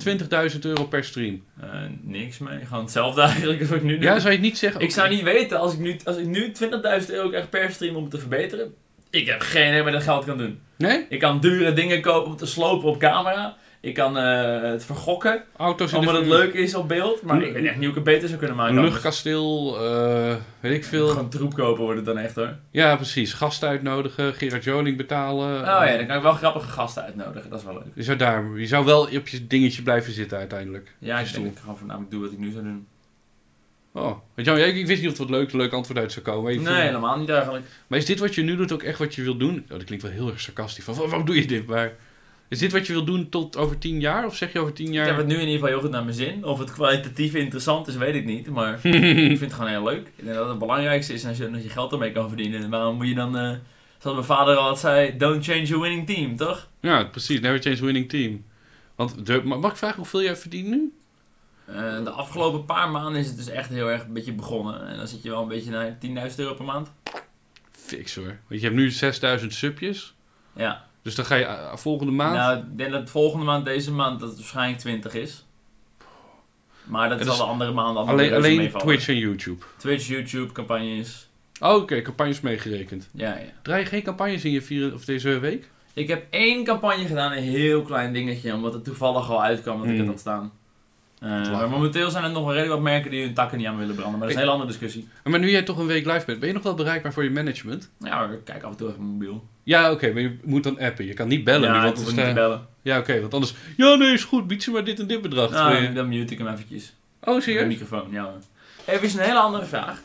20.000 euro per stream. Eh, niks mee, gewoon hetzelfde (laughs) eigenlijk als wat ik nu doe. Ja, zou je het niet zeggen? Ik zou niet weten, als ik nu, als ik nu 20.000 euro krijg per stream om het te verbeteren, ik heb geen idee wat ik dat geld kan doen. Nee? Ik kan dure dingen kopen om te slopen op camera. Ik kan eh, het vergokken, Auto's in omdat de het leuk Ah, is op beeld. Maar ik weet echt niet hoe ik het beter zou kunnen maken. Een anders. luchtkasteel, eh, weet ik veel. Gewoon troep kopen wordt het dan echt hoor. Ja, precies. Gast uitnodigen, Gerard Joling betalen. Oh ja, dan kan ik wel grappige gasten uitnodigen. Dat is wel leuk. Je zou, daar, je zou wel op je dingetje blijven zitten uiteindelijk. Ja, ik Stoel. denk dat ik gewoon voornamelijk doe wat ik nu zou doen. Oh, weet je wel, ik, ik wist niet of er een leuk, leuk antwoord uit zou komen. Even- Nee, helemaal niet eigenlijk. Maar is dit wat je nu doet ook echt wat je wil doen? Oh, dat klinkt wel heel erg sarcastisch. Van, wa- waarom doe je dit? Maar is dit wat je wil doen tot over tien jaar? Of zeg je over tien Ik jaar... heb het nu in ieder geval heel goed naar mijn zin. Of het kwalitatief interessant is, weet ik (laughs) niet. Maar ik vind het gewoon heel leuk. Ik denk dat het belangrijkste is als je, dat je geld ermee kan verdienen. En Waarom moet je dan, eh, zoals mijn vader al zei, don't change your winning team, toch? Ja, precies. Never change winning team. Want de, ma- mag ik vragen hoeveel jij verdient nu? Eh, de afgelopen paar maanden is het dus echt heel erg een beetje begonnen. En dan zit je wel een beetje naar 10.000 euro per maand. Fix hoor. Want je hebt nu 6000 subjes. Ja. Dus dan ga je eh, volgende maand... Nou, ik denk dat volgende maand, deze maand, dat het waarschijnlijk 20 is. Maar dat Het is is al de andere maanden allemaal dus alleen reuze alleen meevallen. Twitch en YouTube. Twitch, YouTube, campagnes. Oh, Oké, campagnes meegerekend. Ja, ja. Draai je geen campagnes in je vier, of deze week? Ik heb één campagne gedaan, een heel klein dingetje, omdat het toevallig al uitkwam dat ik Mm. het had staan. Eh, Klaar. maar momenteel zijn er nog wel redelijk wat merken die hun takken niet aan willen branden, maar dat is een hele andere discussie. Ah, Maar nu jij toch een week live bent, ben je nog wel bereikbaar voor je management? Ja, maar ik kijk af en toe even mijn mobiel. Ja, oké, maar je moet dan appen. Je kan niet bellen. ja, nu, ik want hoef het hem is, niet te eh, bellen. Ja, oké, want anders... Ja, nee, is goed. Bied ze maar dit en dit bedrag. Terwijl Nou, je- dan mute ik hem eventjes. Oh, De serieus? microfoon, ja. hoor. Even een hele andere vraag.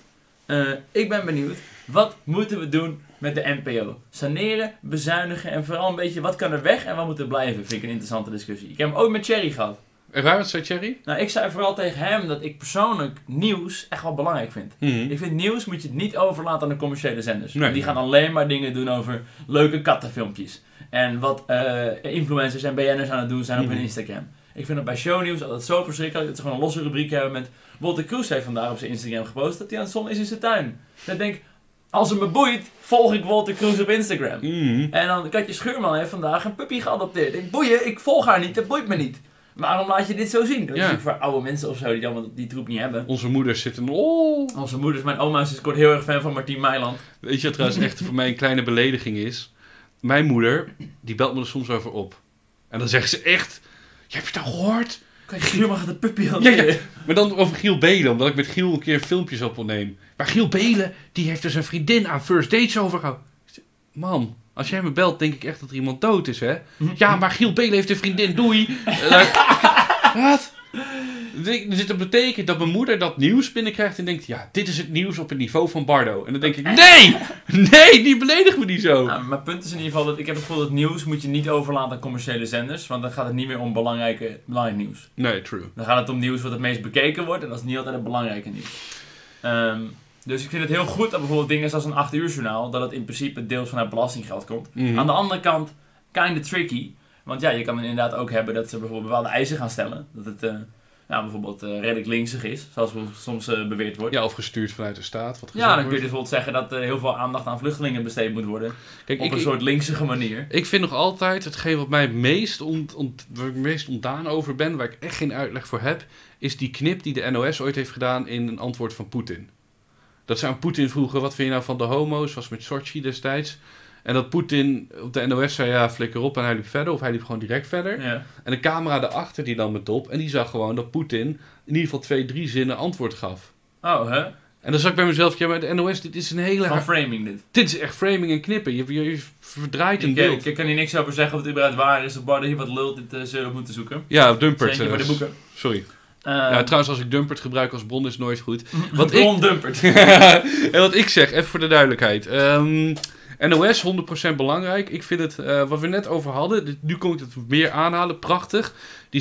Eh, ik ben benieuwd, wat moeten we doen met de NPO? Saneren, bezuinigen en vooral een beetje wat kan er weg en wat moet er blijven, vind ik een interessante discussie. Ik heb hem ook met Thierry gehad. En waar wat zei Thierry? Nou, ik zei vooral tegen hem dat ik persoonlijk nieuws echt wel belangrijk vind. Hmm. Ik vind nieuws moet je het niet overlaten aan de commerciële zenders. Nee. die gaan alleen maar dingen doen over leuke kattenfilmpjes. En wat eh, influencers en BN'ers aan het doen zijn op hun Mhm. Instagram. Ik vind het bij shownieuws altijd zo verschrikkelijk dat ze gewoon een losse rubriek hebben met... Walter Kroes heeft vandaag op zijn Instagram gepost dat hij aan het zon is in zijn tuin. Dan denk ik, als het me boeit, volg ik Walter Kroes op Instagram. Mhm. En dan Katje Schuurman heeft vandaag een puppy geadopteerd. Ik boeien, ik volg haar niet, dat boeit me niet. Waarom laat je dit zo zien? Dat is Ja. natuurlijk voor oude mensen of zo die dan die troep niet hebben. Onze moeders zitten... Oh... Onze moeders, mijn oma is kort heel erg fan van Martien Meiland. Weet je wat trouwens echt voor mij een kleine belediging is? Mijn moeder, die belt me er soms over op. En dan zegt ze echt... "Ja, Heb je dat gehoord? Kijk, Schuurman gaat het puppy al. Ja, ja. Maar dan over Giel Belen, omdat ik met Giel een keer filmpjes op wil nemen. Maar Giel Belen, die heeft er zijn vriendin aan first dates overgehouden. Ik zeg, Man, als jij me belt, denk ik echt dat er iemand dood is, hè? Ja, maar Giel Belen heeft een vriendin, doei. Eh, (laughs) dan- Wat? Dus ik- dus dat betekent dat mijn moeder dat nieuws binnenkrijgt en denkt... Ja, dit is het nieuws op het niveau van Bardo. En dan denk ik, nee! Nee, die beledig me niet zo. Nou, mijn punt is in ieder geval dat ik heb het gevoel dat nieuws moet je niet overlaten aan commerciële zenders. Want dan gaat het niet meer om belangrijke, belangrijk nieuws. Nee, true. Dan gaat het om nieuws wat het meest bekeken wordt. En dat is niet altijd het belangrijke nieuws. Ehm, dus ik vind het heel goed dat bijvoorbeeld dingen zoals een 8 uur journaal... dat het in principe deels vanuit belastinggeld komt. Mhm. Aan de andere kant, kinda tricky. Want ja, je kan het inderdaad ook hebben dat ze bijvoorbeeld bepaalde eisen gaan stellen. Dat het eh, nou, bijvoorbeeld eh, redelijk linksig is, zoals soms eh, beweerd wordt. Ja, of gestuurd vanuit de staat. Wat Ja, gezegd dan kun je wordt. dus bijvoorbeeld zeggen dat er heel veel aandacht aan vluchtelingen besteed moet worden. Kijk, dus op ik- een ik- soort linksige manier. Ik vind nog altijd hetgeen wat mij het meest, ont, ont- waar ik het meest ontdaan over ben, waar ik echt geen uitleg voor heb, is die knip die de NOS ooit heeft gedaan in een antwoord van Poetin. Dat ze aan Poetin vroegen: wat vind je nou van de homo's? Was met Sochi destijds. En dat Poetin op de NOS zei: ja, flikker op en hij liep verder. Of hij liep gewoon direct verder. Ja. En de camera daarachter die nam het op en die zag gewoon dat Poetin in ieder geval twee, drie zinnen antwoord gaf. Oh, hè? En dan zag ik bij mezelf: ja, maar de NOS, dit is een hele. Van framing dit. Dit is echt framing en knippen. Je, je, je verdraait een Ik, beeld. eh, ik kan hier niks over zeggen of het überhaupt waar is. Of Bart hier wat lult, dit eh, zullen we op moeten zoeken. Ja, Dumpert. Centje voor de eh, boeken. Sorry. Eh, ja, trouwens, als ik Dumpert gebruik als bron is nooit (laughs) goed. Wat Wat ik, dumpert. en wat ik zeg, even voor de duidelijkheid. Ehm, NOS, 100% belangrijk. Ik vind het, eh, wat we net over hadden, dit- nu kon ik het meer aanhalen, prachtig. Die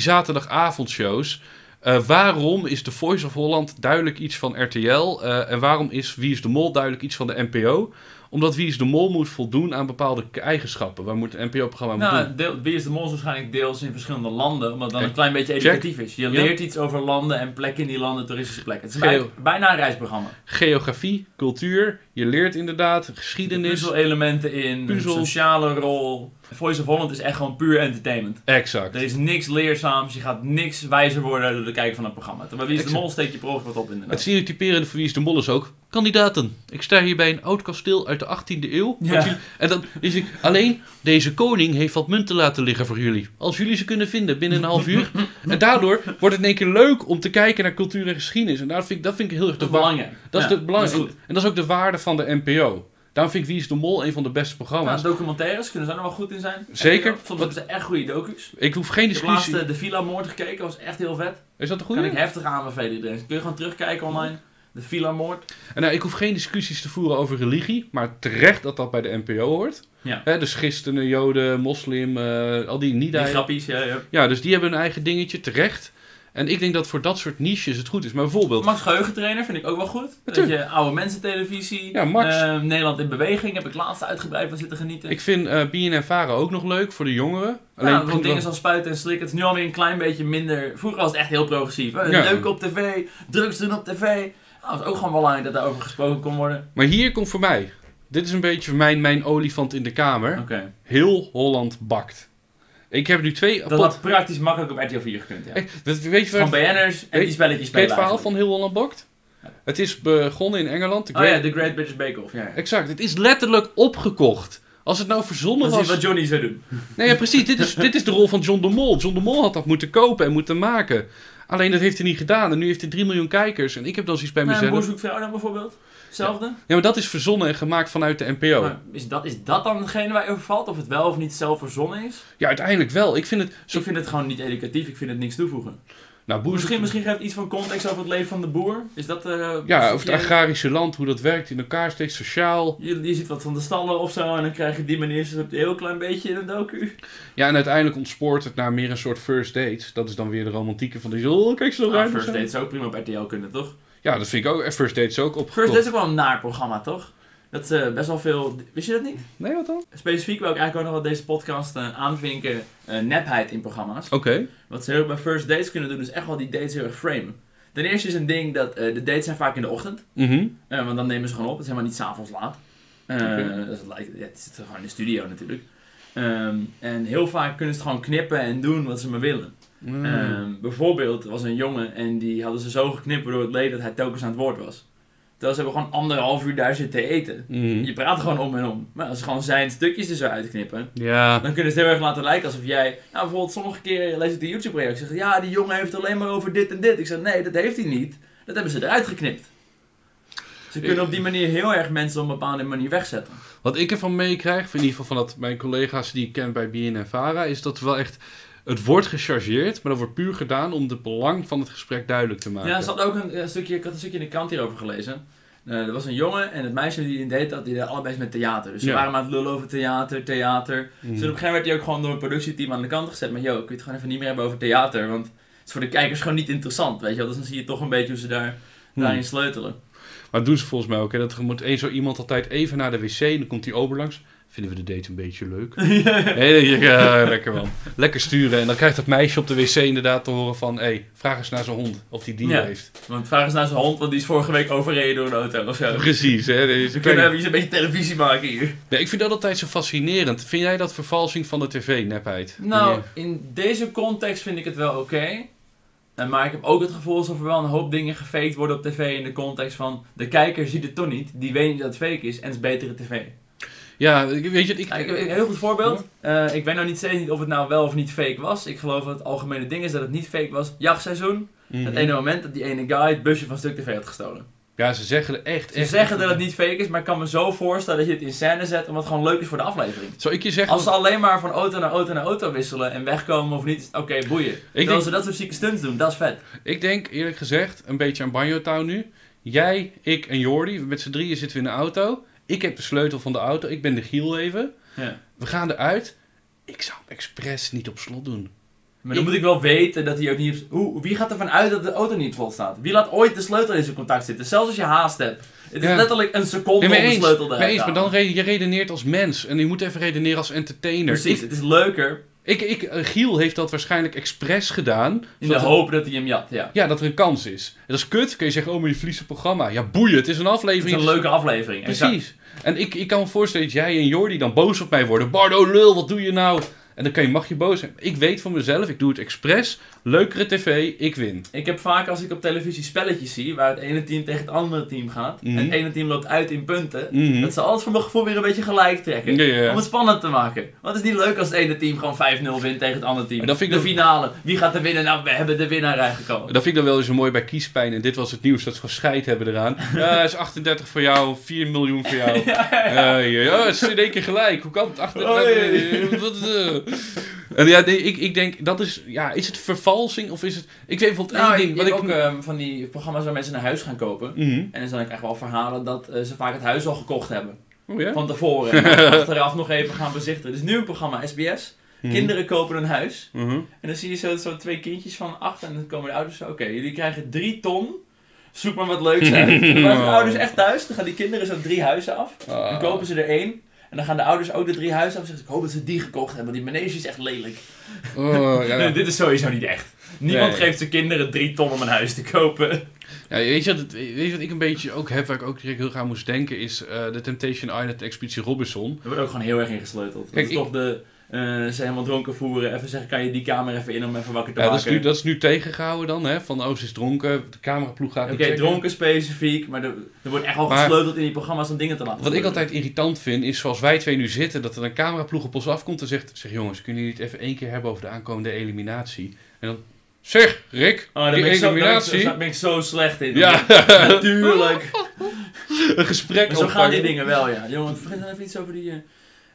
zaterdagavondshows. Eh, waarom is The Voice of Holland duidelijk iets van RTL? Eh, en waarom is Wie is de Mol duidelijk iets van de NPO? Omdat Wie is de Mol moet voldoen aan bepaalde k- eigenschappen. Waar moet een NPO-programma aan doen? Nou, deel, Wie is de Mol is waarschijnlijk deels in verschillende landen, omdat dan Kijk, een klein beetje check. educatief is. Je Ja. leert iets over landen en plekken in die landen, toeristische plekken. Het is Geel. bij- bijna een reisprogramma. Geografie, cultuur, Je leert inderdaad De geschiedenis. puzzelelementen in, Puzzels. een sociale rol. Voice of Holland is echt gewoon puur entertainment. Exact. Er is niks leerzaams, je gaat niks wijzer worden door het kijken van een programma. Terwijl Wie is de Exact. Mol steekt je per ongeluk wat op Het inderdaad. stereotyperende voor Wie is de Mol is ook... Kandidaten, ik sta hier bij een oud kasteel uit de 18e eeuw. Ja. Wat jullie- En dan is ik... Alleen, deze koning heeft wat munten laten liggen voor jullie. Als jullie ze kunnen vinden binnen een half (laughs) uur. En daardoor wordt het in één keer leuk om te kijken naar cultuur en geschiedenis. En daar vind ik, dat vind ik heel erg Dat is de waarde. belangrijk. Dat is Ja, het belangrijk. goed. en dat is ook de waarde van de NPO. Daarom vind ik Wie is de Mol een van de beste Ja, programma's. documentaires kunnen ze er wel goed in zijn. Zeker. Soms hebben ze echt goede docu's. Ik hoef geen Ik heb discussie. laatst eh, de Villa-moord gekeken, was echt heel vet. Is dat een Kan ik goede? heftig aanbevelen iedereen. Kun je gewoon terugkijken online. De Villa-moord. En nou, ik hoef geen discussies te voeren over religie, maar terecht dat dat bij de NPO hoort. Ja. Hè, dus christenen, joden, moslim, eh, al die Die niet grappies, ja, ja. Ja, dus die hebben hun eigen dingetje, terecht. En ik denk dat voor dat soort niches het goed is. Maar bijvoorbeeld, Max Geheugentrainer vind ik ook wel goed. Dat Natuurlijk. je oude mensen televisie. Ja, Max. Nederland in beweging heb ik laatst uitgebreid van zitten genieten. ik vind eh BNN Varen ook nog leuk voor de jongeren. Alleen Alleen, ja, want dingen zoals spuiten en slikken, het is nu alweer een klein beetje minder... Vroeger was het echt heel progressief. Hè? Ja. Leuk op tv, drugs doen op tv. Nou, het is ook gewoon belangrijk dat daarover gesproken kon worden. Maar hier komt voor mij, dit is een beetje mijn, mijn olifant in de kamer. Oké. Heel Holland bakt. Ik heb nu twee... Dat had praktisch makkelijk op RTL 4 gekund, ja. Eh, dat- weet je Van wat, BN'ers en Weet- die spelletjes ken je spelen het verhaal eigenlijk. van Heel Holland bakt? Het is begonnen in Engeland. de Oh Great- ja, The Great British Bake Off, ja. ja. Exact, het is letterlijk opgekocht. Als het nou verzonnen Dat is was. wat Johnny zou doen. Nee, ja, precies. Dit (laughs) is, dit is de rol van John de Mol. John de Mol had dat moeten kopen en moeten maken. Alleen dat heeft hij niet gedaan. En nu heeft hij 3 miljoen kijkers. En ik heb dan zoiets bij Nou, een mezelf. boer zoekt vrouw dan bijvoorbeeld. Hetzelfde. Ja, maar dat is verzonnen en gemaakt vanuit de NPO. Maar is, dat, is dat dan hetgene waar je over valt? Of het wel of niet zelf verzonnen is? Ja, uiteindelijk wel. Ik vind het. Zo... Ik vind het gewoon niet educatief. Ik vind het niks toevoegen. Nou, boer... Misschien, misschien geeft het iets van context over het leven van de boer. Is dat... eh, Ja, zoek over jij- het agrarische land, hoe dat werkt in elkaar steekt, sociaal. Je, je ziet wat van de stallen of zo en dan krijg je die manier zo'n heel klein beetje in een docu. Ja, en uiteindelijk ontspoort het naar meer een soort first dates. Dat is dan weer de romantieke van die. Oh, kijk, zo Ah, ruim. First Date zou ook prima op RTL kunnen, toch? Ja, dat vind ik ook. En first dates ook op. First Date is ook wel een naar programma, toch? Dat is eh, best wel veel... Wist je dat niet? Nee, wat dan? Oké. Specifiek wil ik eigenlijk ook nog wel deze podcast eh, aanvinken. eh, nepheid in programma's. Wat ze heel erg bij first dates kunnen doen, is echt wel die dates heel erg framen. Ten eerste is een ding dat eh, de dates zijn vaak in de ochtend. Mhm. Eh, want dan nemen ze gewoon op. Het is helemaal niet s'avonds laat. Eh, Oké. dat is, like, ja, het zit gewoon in de studio natuurlijk. Ehm, en heel vaak kunnen ze het gewoon knippen en doen wat ze maar willen. Mm. Ehm, bijvoorbeeld er was een jongen en die hadden ze zo geknipt waardoor het leed dat hij telkens aan het woord was. Terwijl ze hebben gewoon anderhalf uur daar zitten eten. Mhm. Je praat gewoon om en om. Maar als ze gewoon zijn stukjes er zo uitknippen, Ja. dan kunnen ze het heel erg laten lijken alsof jij... Nou, bijvoorbeeld sommige keren lees ik de YouTube-reactie zeggen... Ja, die jongen heeft alleen maar over dit en dit. Ik zeg, nee, dat heeft hij niet. Dat hebben ze eruit geknipt. Ze kunnen op die manier heel erg mensen op een bepaalde manier wegzetten. Wat ik ervan meekrijg, in ieder geval van dat mijn collega's die ik ken bij BNN Vara, is dat wel echt. Het wordt gechargeerd, maar dat wordt puur gedaan om het belang van het gesprek duidelijk te maken. Ja, er zat ook een, eh, stukje... Ik had een stukje in de krant hierover gelezen. Eh, er was een jongen en het meisje die hij deed dat, die deden allebei iets met theater. Dus ze Ja. waren maar aan het lullen over theater, theater. Mm. Dus op een gegeven moment werd hij ook gewoon door een productieteam aan de kant gezet. Maar yo, ik wil het gewoon even niet meer hebben over theater. Want het is voor de kijkers gewoon niet interessant, weet je wel. Dus dan zie je toch een beetje hoe ze daar, Hmm. daarin sleutelen. Maar dat doen ze volgens mij ook. Hè? Dat er moet één zo iemand altijd even naar de wc en dan komt die ober langs. Vinden we de date een beetje (laughs) leuk? Hé, ja, lekker man. Lekker sturen. En dan krijgt dat meisje op de wc inderdaad te horen van... Hé, vraag eens naar zijn hond of die dier Ja. heeft. Want vraag eens naar zijn hond, want die is vorige week overreden door een auto of zo. Dus Precies, hè. Deze We kunnen even iets een beetje televisie maken hier. Nee, ik vind dat altijd zo fascinerend. Vind jij dat vervalsing van de tv-nepheid? Nou, in deze context vind ik het wel oké. En Maar ik heb ook het gevoel alsof er wel een hoop dingen gefaked worden op tv in de context van... De kijker ziet het toch niet, die weet niet dat het fake is en het is betere tv. Ja, ik- weet je... Ik, Ja, ik- Een heel goed voorbeeld. Eh, ik weet nou niet steeds niet of het nou wel of niet fake was. Ik geloof dat het algemene ding is dat het niet fake was. Jachtseizoen. Mhm. Het ene moment dat die ene guy het busje van Stuk TV had gestolen. Ja, ze zeggen er echt... Ze echt- zeggen dat het niet fake is, maar ik kan me zo voorstellen dat je het in scène zet omdat het gewoon leuk is voor de aflevering. Zou ik je zeggen... Als ze alleen maar van auto naar auto naar auto wisselen en wegkomen of niet, is het oké, boeien. Terwijl denk- ze dat soort zieke stunts doen, dat is vet. Ik denk eerlijk gezegd een beetje aan Banjo Town nu. Jij, ik en Jordi, met z'n drieën zitten we in de auto. Ik heb de sleutel van de auto. Ik ben de Giel even. Ja. We gaan eruit. Ik zou hem expres niet op slot doen. Maar dan moet ik wel weten dat hij ook niet... op- Hoe, wie gaat ervan uit dat de auto niet op slot staat? Wie laat ooit de sleutel in zijn contact zitten? Zelfs als je haast hebt. Het is Ja. letterlijk een seconde maar om de eens, sleutel eruit maar, eens, te maar halen. dan re- je redeneert als mens. En je moet even redeneren als entertainer. Precies, Ik- het is leuker Ik, ik, eh, Giel heeft dat waarschijnlijk expres gedaan. In de zodat- hoop dat hij hem jat, ja. Ja, dat er een kans is. En dat is kut. Kun je zeggen, oh, maar je verliest het programma. Ja, boeien. Het is een Het is aflevering. een leuke aflevering. exact. Precies. En ik, ik kan me voorstellen dat jij en Jordi dan boos op mij worden. Bardo, lul, wat doe je nou? En dan kan je, mag je boos zijn. Ik weet van mezelf, ik doe het expres. Leukere tv, ik win. Ik heb vaak als ik op televisie spelletjes zie, waar het ene team tegen het andere team gaat, Mhm. en het ene team loopt uit in punten, Mhm. dat ze alles voor mijn gevoel weer een beetje gelijk trekken. Ja, ja, ja. Om het spannend te maken. Want het is niet leuk als het ene team gewoon 5-0 wint tegen het andere team. Maar dat vind ik de ook- finale. Wie gaat er winnen? Nou, we hebben de winnaar eigenlijk Dat vind ik dan wel eens zo mooi bij kiespijn. En dit was het nieuws dat ze gewoon scheid hebben (laughs) eraan. Ja, is 38 voor jou, 4 miljoen voor jou. Ja, ja, het is in één keer gelijk. Hoe kan het? Oh, 38 (laughs) Wat, eh. En ja, nee, ik, ik denk, dat is, ja, is het vervalsing of is het... Ik weet bijvoorbeeld één Nou, ding. ik Wat heb ik, ook eh. ehm, van die programma's waar mensen een huis gaan kopen. Mhm. En dan zijn ik echt wel verhalen dat eh, ze vaak het huis al gekocht hebben. Oh ja? Van tevoren. (laughs) En dan achteraf nog even gaan bezichten. Dus nu een programma, SBS. Mhm. Kinderen kopen een huis. Mhm. En dan zie je zo, zo twee kindjes van acht en dan komen de ouders zo, oké, jullie krijgen drie ton, zoek maar wat leuks uit. (laughs) En dan blijven de ouders echt thuis, dan gaan die kinderen zo drie huizen af, dan Ah. kopen ze er één. En dan gaan de ouders ook de drie huizen af en zeggen ze, ik hoop dat ze die gekocht hebben, want die manege is echt lelijk. Oh, ja. (laughs) Nee, dit is sowieso niet echt. Niemand Nee. geeft zijn kinderen drie ton om een huis te (laughs) kopen. Ja, weet, je wat, het- weet je wat ik een beetje ook heb, waar ik ook direct heel graag aan moest denken, is eh de Temptation Island Expeditie Robinson. Er wordt ook gewoon heel erg ingesleuteld. Dat Kijk, is toch de, eh, ze helemaal dronken voeren, even zeggen, kan je die kamer even in om even wakker te Ja, dat, is maken. nu, dat is nu tegengehouden dan, hè? Van Oost is dronken, de cameraploeg gaat Oké, hem checken. dronken specifiek, maar er, er wordt echt al Maar- gesleuteld in die programma's om dingen te laten Wat ik gebeuren. altijd irritant vind, is zoals wij twee nu zitten, dat er een cameraploeg op ons afkomt en zegt, zeg jongens, kunnen jullie het even één keer hebben over de aankomende eliminatie? En dan, zeg Rick, Oh, daar die ben, ik zo, daar ben ik zo- eliminatie? daar ben ik zo slecht in. ja, natuurlijk. (laughs) een gesprek Maar zo gaan die opvangen. dingen wel, ja. Jongen, vergeet dan even iets over die... eh,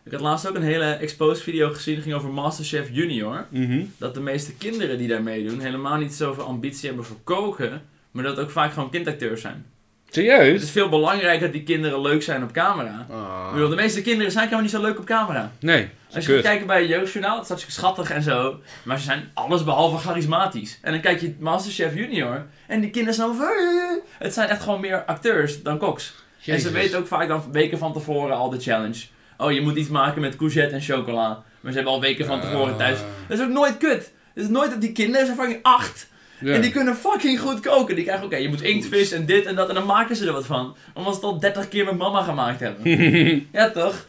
Ik had laatst ook een hele exposed video gezien, die ging over Masterchef Junior. Mhm. Dat de meeste kinderen die daar meedoen helemaal niet zoveel ambitie hebben voor koken, maar dat ook vaak gewoon kindacteurs zijn. Het Serieus? is veel belangrijker dat die kinderen leuk zijn op Ah. camera. Ik bedoel, de meeste kinderen zijn helemaal niet zo leuk op camera. Nee, Als je kut. gaat kijken bij het Jeugdjournaal, het is hartstikke schattig en zo. Maar ze zijn allesbehalve charismatisch. En dan kijk je Masterchef Junior. En die kinderen zijn over. eh, Het zijn echt gewoon meer acteurs dan koks. En ze Jezus. weten ook vaak dan weken van tevoren al de challenge. Oh, je moet iets maken met courgette en chocola. Maar ze hebben al weken van tevoren Ah. thuis. Dat is ook nooit kut. Het is nooit dat die kinderen zijn fucking acht. Ja. En die kunnen fucking goed koken. Die krijgen, oké, je moet inktvis en dit en dat. En dan maken ze er wat van. Omdat ze het al 30 keer met mama gemaakt hebben. (laughs) ja, toch?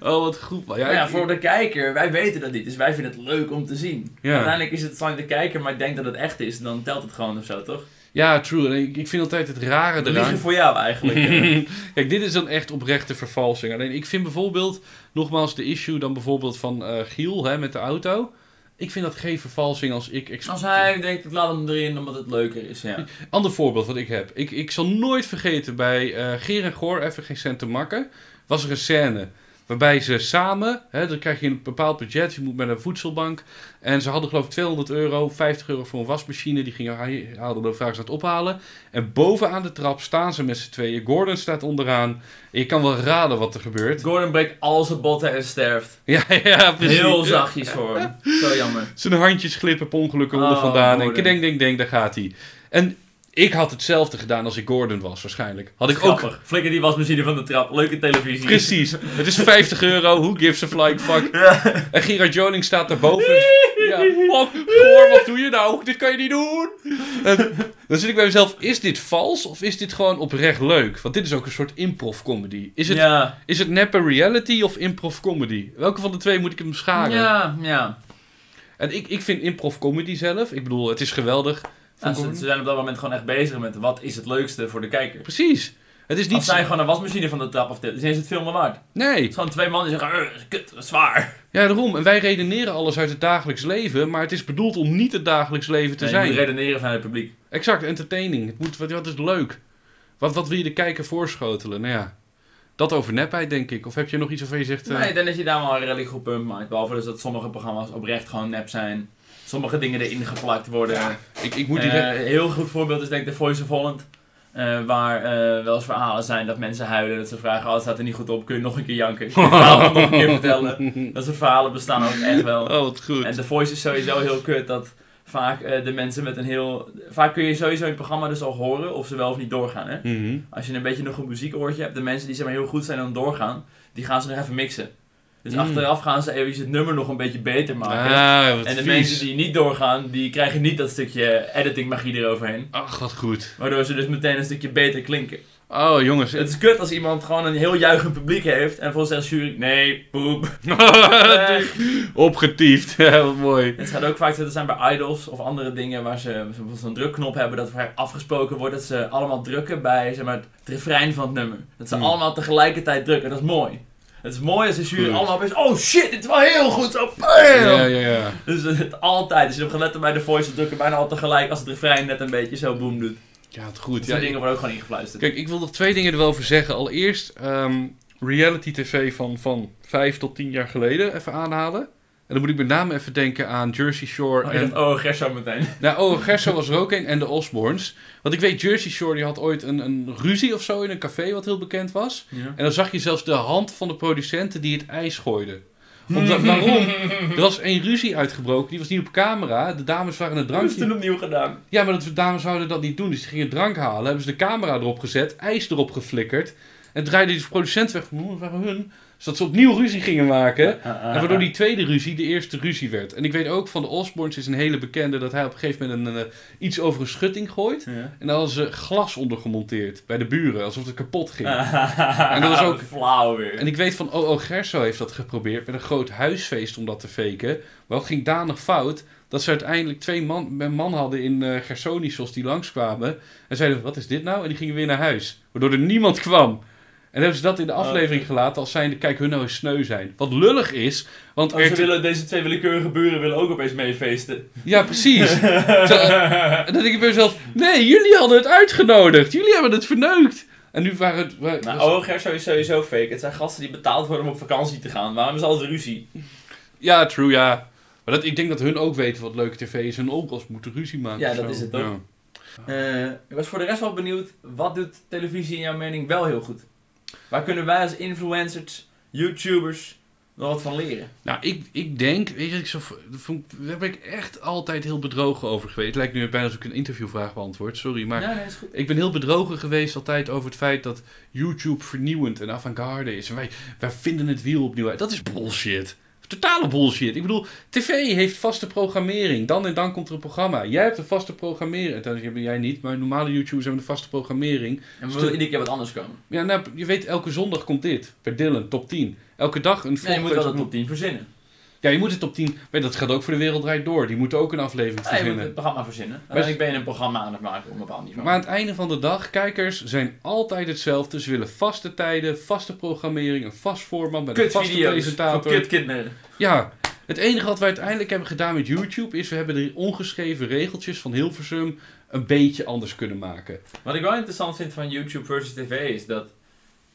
Oh, wat goed. man. Ja, Maar Nou ja, ik- voor de kijker, wij weten dat niet, dus wij vinden het leuk om te zien. Ja. Uiteindelijk is het van de kijker, maar ik denk dat het echt is, dan telt het gewoon of zo, toch? Ja, true. En ik, ik vind altijd het rare (laughs) We eraan. liegen voor (laughs) jou eigenlijk. eh. Kijk, dit is dan echt oprechte vervalsing. Alleen ik vind bijvoorbeeld, nogmaals, de issue dan bijvoorbeeld van eh, Giel hè, met de auto. Ik vind dat geen vervalsing als ik... ex- Als hij denkt, ik laat hem erin omdat het leuker (laughs) is, ja. Ander voorbeeld wat ik heb. Ik, ik zal nooit vergeten, bij eh Geer en Goor, even geen cent te makken, was er een scène waarbij ze samen, hè, dan krijg je een bepaald budget, je moet met een voedselbank. En ze hadden geloof ik 200 euro, 50 euro voor een wasmachine, die gingen hij- haalden de vraag aan het ophalen. En bovenaan de trap staan ze met z'n tweeën. Gordon staat onderaan. Je kan wel raden wat er gebeurt. (laughs) Gordon breekt al zijn botten en sterft. Ja, ja, precies. Heel zachtjes voor hem. Zo jammer. Zijn handjes glippen per ongeluk onder Oh, vandaan. En Gordon. denk, denk, denk, daar gaat hij. En ik had hetzelfde gedaan als ik Gordon was, waarschijnlijk. Had ik ook... Grappig. Flikker die wasmachine van de trap. Leuke televisie. Precies. Het is 50 euro. Who gives a flying fuck? En Gerard Joling staat daarboven. (laughs) Ja. Oh, Goor, wat doe je nou? Dit kan je niet doen. En dan zit ik bij mezelf. Is dit vals of is dit gewoon oprecht leuk? Want dit is ook een soort improv comedy. Is het, Ja. is het neppe reality of improv comedy? Welke van de twee moet ik hem scharen? Ja, ja. En ik, ik vind improv comedy zelf. Ik bedoel, het is geweldig. Ja, ze, Comedy. ze zijn op dat moment gewoon echt bezig met wat is het leukste voor de kijker. Precies. Het is niet. Als zij gewoon een wasmachine van de trap af tilt, dan is het veel meer waard. Nee. Het is gewoon twee mannen die zeggen, "Ugh, kut, dat is zwaar. Ja, daarom. En wij redeneren alles uit het dagelijks leven. Maar het is bedoeld om niet het dagelijks leven te Nee, zijn. Je moet redeneren vanuit het publiek. Exact, entertaining. Het moet, wat, wat is leuk? Wat, wat wil je de kijker voorschotelen? Nou ja, dat over nepheid, denk ik. Of heb je nog iets waarvan je zegt... eh, Nee, ik denk dat je daar wel een redelijk goed punt maakt. Behalve dus dat sommige programma's oprecht gewoon nep zijn. Sommige dingen erin geplakt worden. ik, ik moet Eh, direct... een heel goed voorbeeld is denk ik de Voice of Holland. eh, waar eh, wel eens verhalen zijn dat mensen huilen. Dat ze vragen, oh het staat er niet goed op, kun je nog een keer janken? Kun je het verhaal nog een keer (laughs) vertellen? Dat soort verhalen bestaan ook echt wel. Oh, wat goed. Eh, En The Voice is sowieso heel kut dat vaak eh, de mensen met een heel... Vaak kun je sowieso in het programma dus al horen of ze wel of niet doorgaan, hè? Mhm. Als je een beetje nog een muziekoortje hebt, de mensen die zeg maar heel goed zijn aan het doorgaan, die gaan ze nog even mixen. Dus Mm. achteraf gaan ze even het nummer nog een beetje beter maken. Ah, wat en de vies. mensen die niet doorgaan, die krijgen niet dat stukje editing magie eroverheen. Ach, wat goed. Waardoor ze dus meteen een stukje beter klinken. Oh, jongens. (laughs) Het is kut als iemand gewoon een heel juichend publiek heeft en volgens zegt de jury, nee, (laughs) poep. Weg. Opgetiefd. (laughs) Ja, wat mooi. Het gaat ook vaak zo dat zijn bij idols of andere dingen waar ze bijvoorbeeld zo'n drukknop hebben dat vaak afgesproken wordt dat ze allemaal drukken bij zeg maar, het refrein van het nummer. Dat ze Hmm. allemaal tegelijkertijd drukken, dat is mooi. Het is mooi als de jury Goed. allemaal opeens, oh shit, dit is wel heel goed zo. bam! Ja, ja, ja. Dus het altijd, als je hebt gelet bij de voice, ze drukken bijna al tegelijk als het refrein net een beetje zo boom doet. Ja, wat goed. Dat Ja, soort dingen ik- worden ook gewoon ingefluisterd. Kijk, ik wil nog twee dingen er wel over zeggen. Allereerst ehm, reality tv van, van vijf tot tien jaar geleden even aanhalen. En dan moet ik met name even denken aan Jersey Shore Oh, je en dacht, oh, Gerso meteen. Nou, oh, Gerso was er ook een en de Osborns. Want ik weet, Jersey Shore die had ooit een, een ruzie of zo in een café wat heel bekend was. En dan zag je zelfs de hand van de producenten die het ijs gooiden. (laughs) Omdat, waarom? Er was één ruzie uitgebroken, die was niet op camera. De dames waren een Dat is toen drankje... opnieuw gedaan. Ja, maar de dames zouden dat niet doen, dus ze gingen drank halen. Hebben ze de camera erop gezet, ijs erop geflikkerd. En draaide die producent weg van, "Oh, dat waren hun. Zodat ze opnieuw ruzie gingen maken. Ah, En waardoor die tweede ruzie de eerste ruzie werd. En ik weet ook van de Osborns is een hele bekende dat hij op een gegeven moment een, eh, iets over een schutting gooit. Ja. En daar hadden ze glas onder gemonteerd bij de buren, alsof het kapot ging. Ah. En (laughs) dat was ook- flauw weer. En ik weet van O.O. Gerso heeft dat geprobeerd met een groot huisfeest om dat te faken. Maar het ging danig fout dat ze uiteindelijk twee man, een man hadden in eh Gersonisos die langskwamen. En zeiden, wat is dit nou? En die gingen weer naar huis. Waardoor er niemand kwam. En hebben ze dat in de Oh, aflevering gelaten als zijnde, kijk hun nou eens sneu zijn. Wat lullig is, want Oh, ze RTL willen, deze twee willekeurige buren willen ook opeens meefeesten. Ja, precies. Terwijl- en dan denk ik bij mezelf, nee, jullie hadden het uitgenodigd. Jullie hebben het verneukt. En nu waren het... wa- Maar was- oh, Gerso is sowieso fake. Het zijn gasten die betaald worden om op vakantie te gaan. Waarom is altijd ruzie? Ja, true, ja. Maar dat, ik denk dat hun ook weten wat leuke tv is. Hun onkels moeten ruzie maken. Ja, of dat zo. is het ook. Ja. Eh, ik was voor de rest wel benieuwd, wat doet televisie in jouw mening wel heel goed? Waar kunnen wij als influencers, YouTubers, nog wat van leren? Nou, ik, ik denk, weet je, ik zo, dat vond ik- daar ben ik echt altijd heel bedrogen over geweest. Het lijkt nu bijna alsof ik een interviewvraag beantwoord, sorry. Maar Ja, nee, is goed. Ik ben heel bedrogen geweest altijd over het feit dat YouTube vernieuwend en avant-garde is. En wij, wij vinden het wiel opnieuw uit. Dat is bullshit. Totale bullshit. Ik bedoel, tv heeft vaste programmering. Dan en dan komt er een programma. Jij hebt een vaste programmering. Dat heb jij niet, maar normale YouTubers hebben een vaste programmering. En we willen iedere keer wat anders komen. Ja, nou, je weet, elke zondag komt dit. Per Dylan, top 10. Elke dag een Nee, je moet volgende- wel de top 10 verzinnen. Ja, je moet het top 10. Maar dat gaat ook voor de wereld Draait door. Die moeten ook een aflevering Ja, je moet verzinnen. het programma verzinnen. Uiteindelijk ben je een programma aan het maken op een bepaald niveau. Maar aan het einde van de dag, kijkers zijn altijd hetzelfde. Ze willen vaste tijden, vaste programmering, een vast format met een vaste Kutvideo's voor presentator. kutkinderen. Ja, het enige wat we uiteindelijk hebben gedaan met YouTube is we hebben de ongeschreven regeltjes van Hilversum een beetje anders kunnen maken. Wat ik wel interessant vind van YouTube versus tv is dat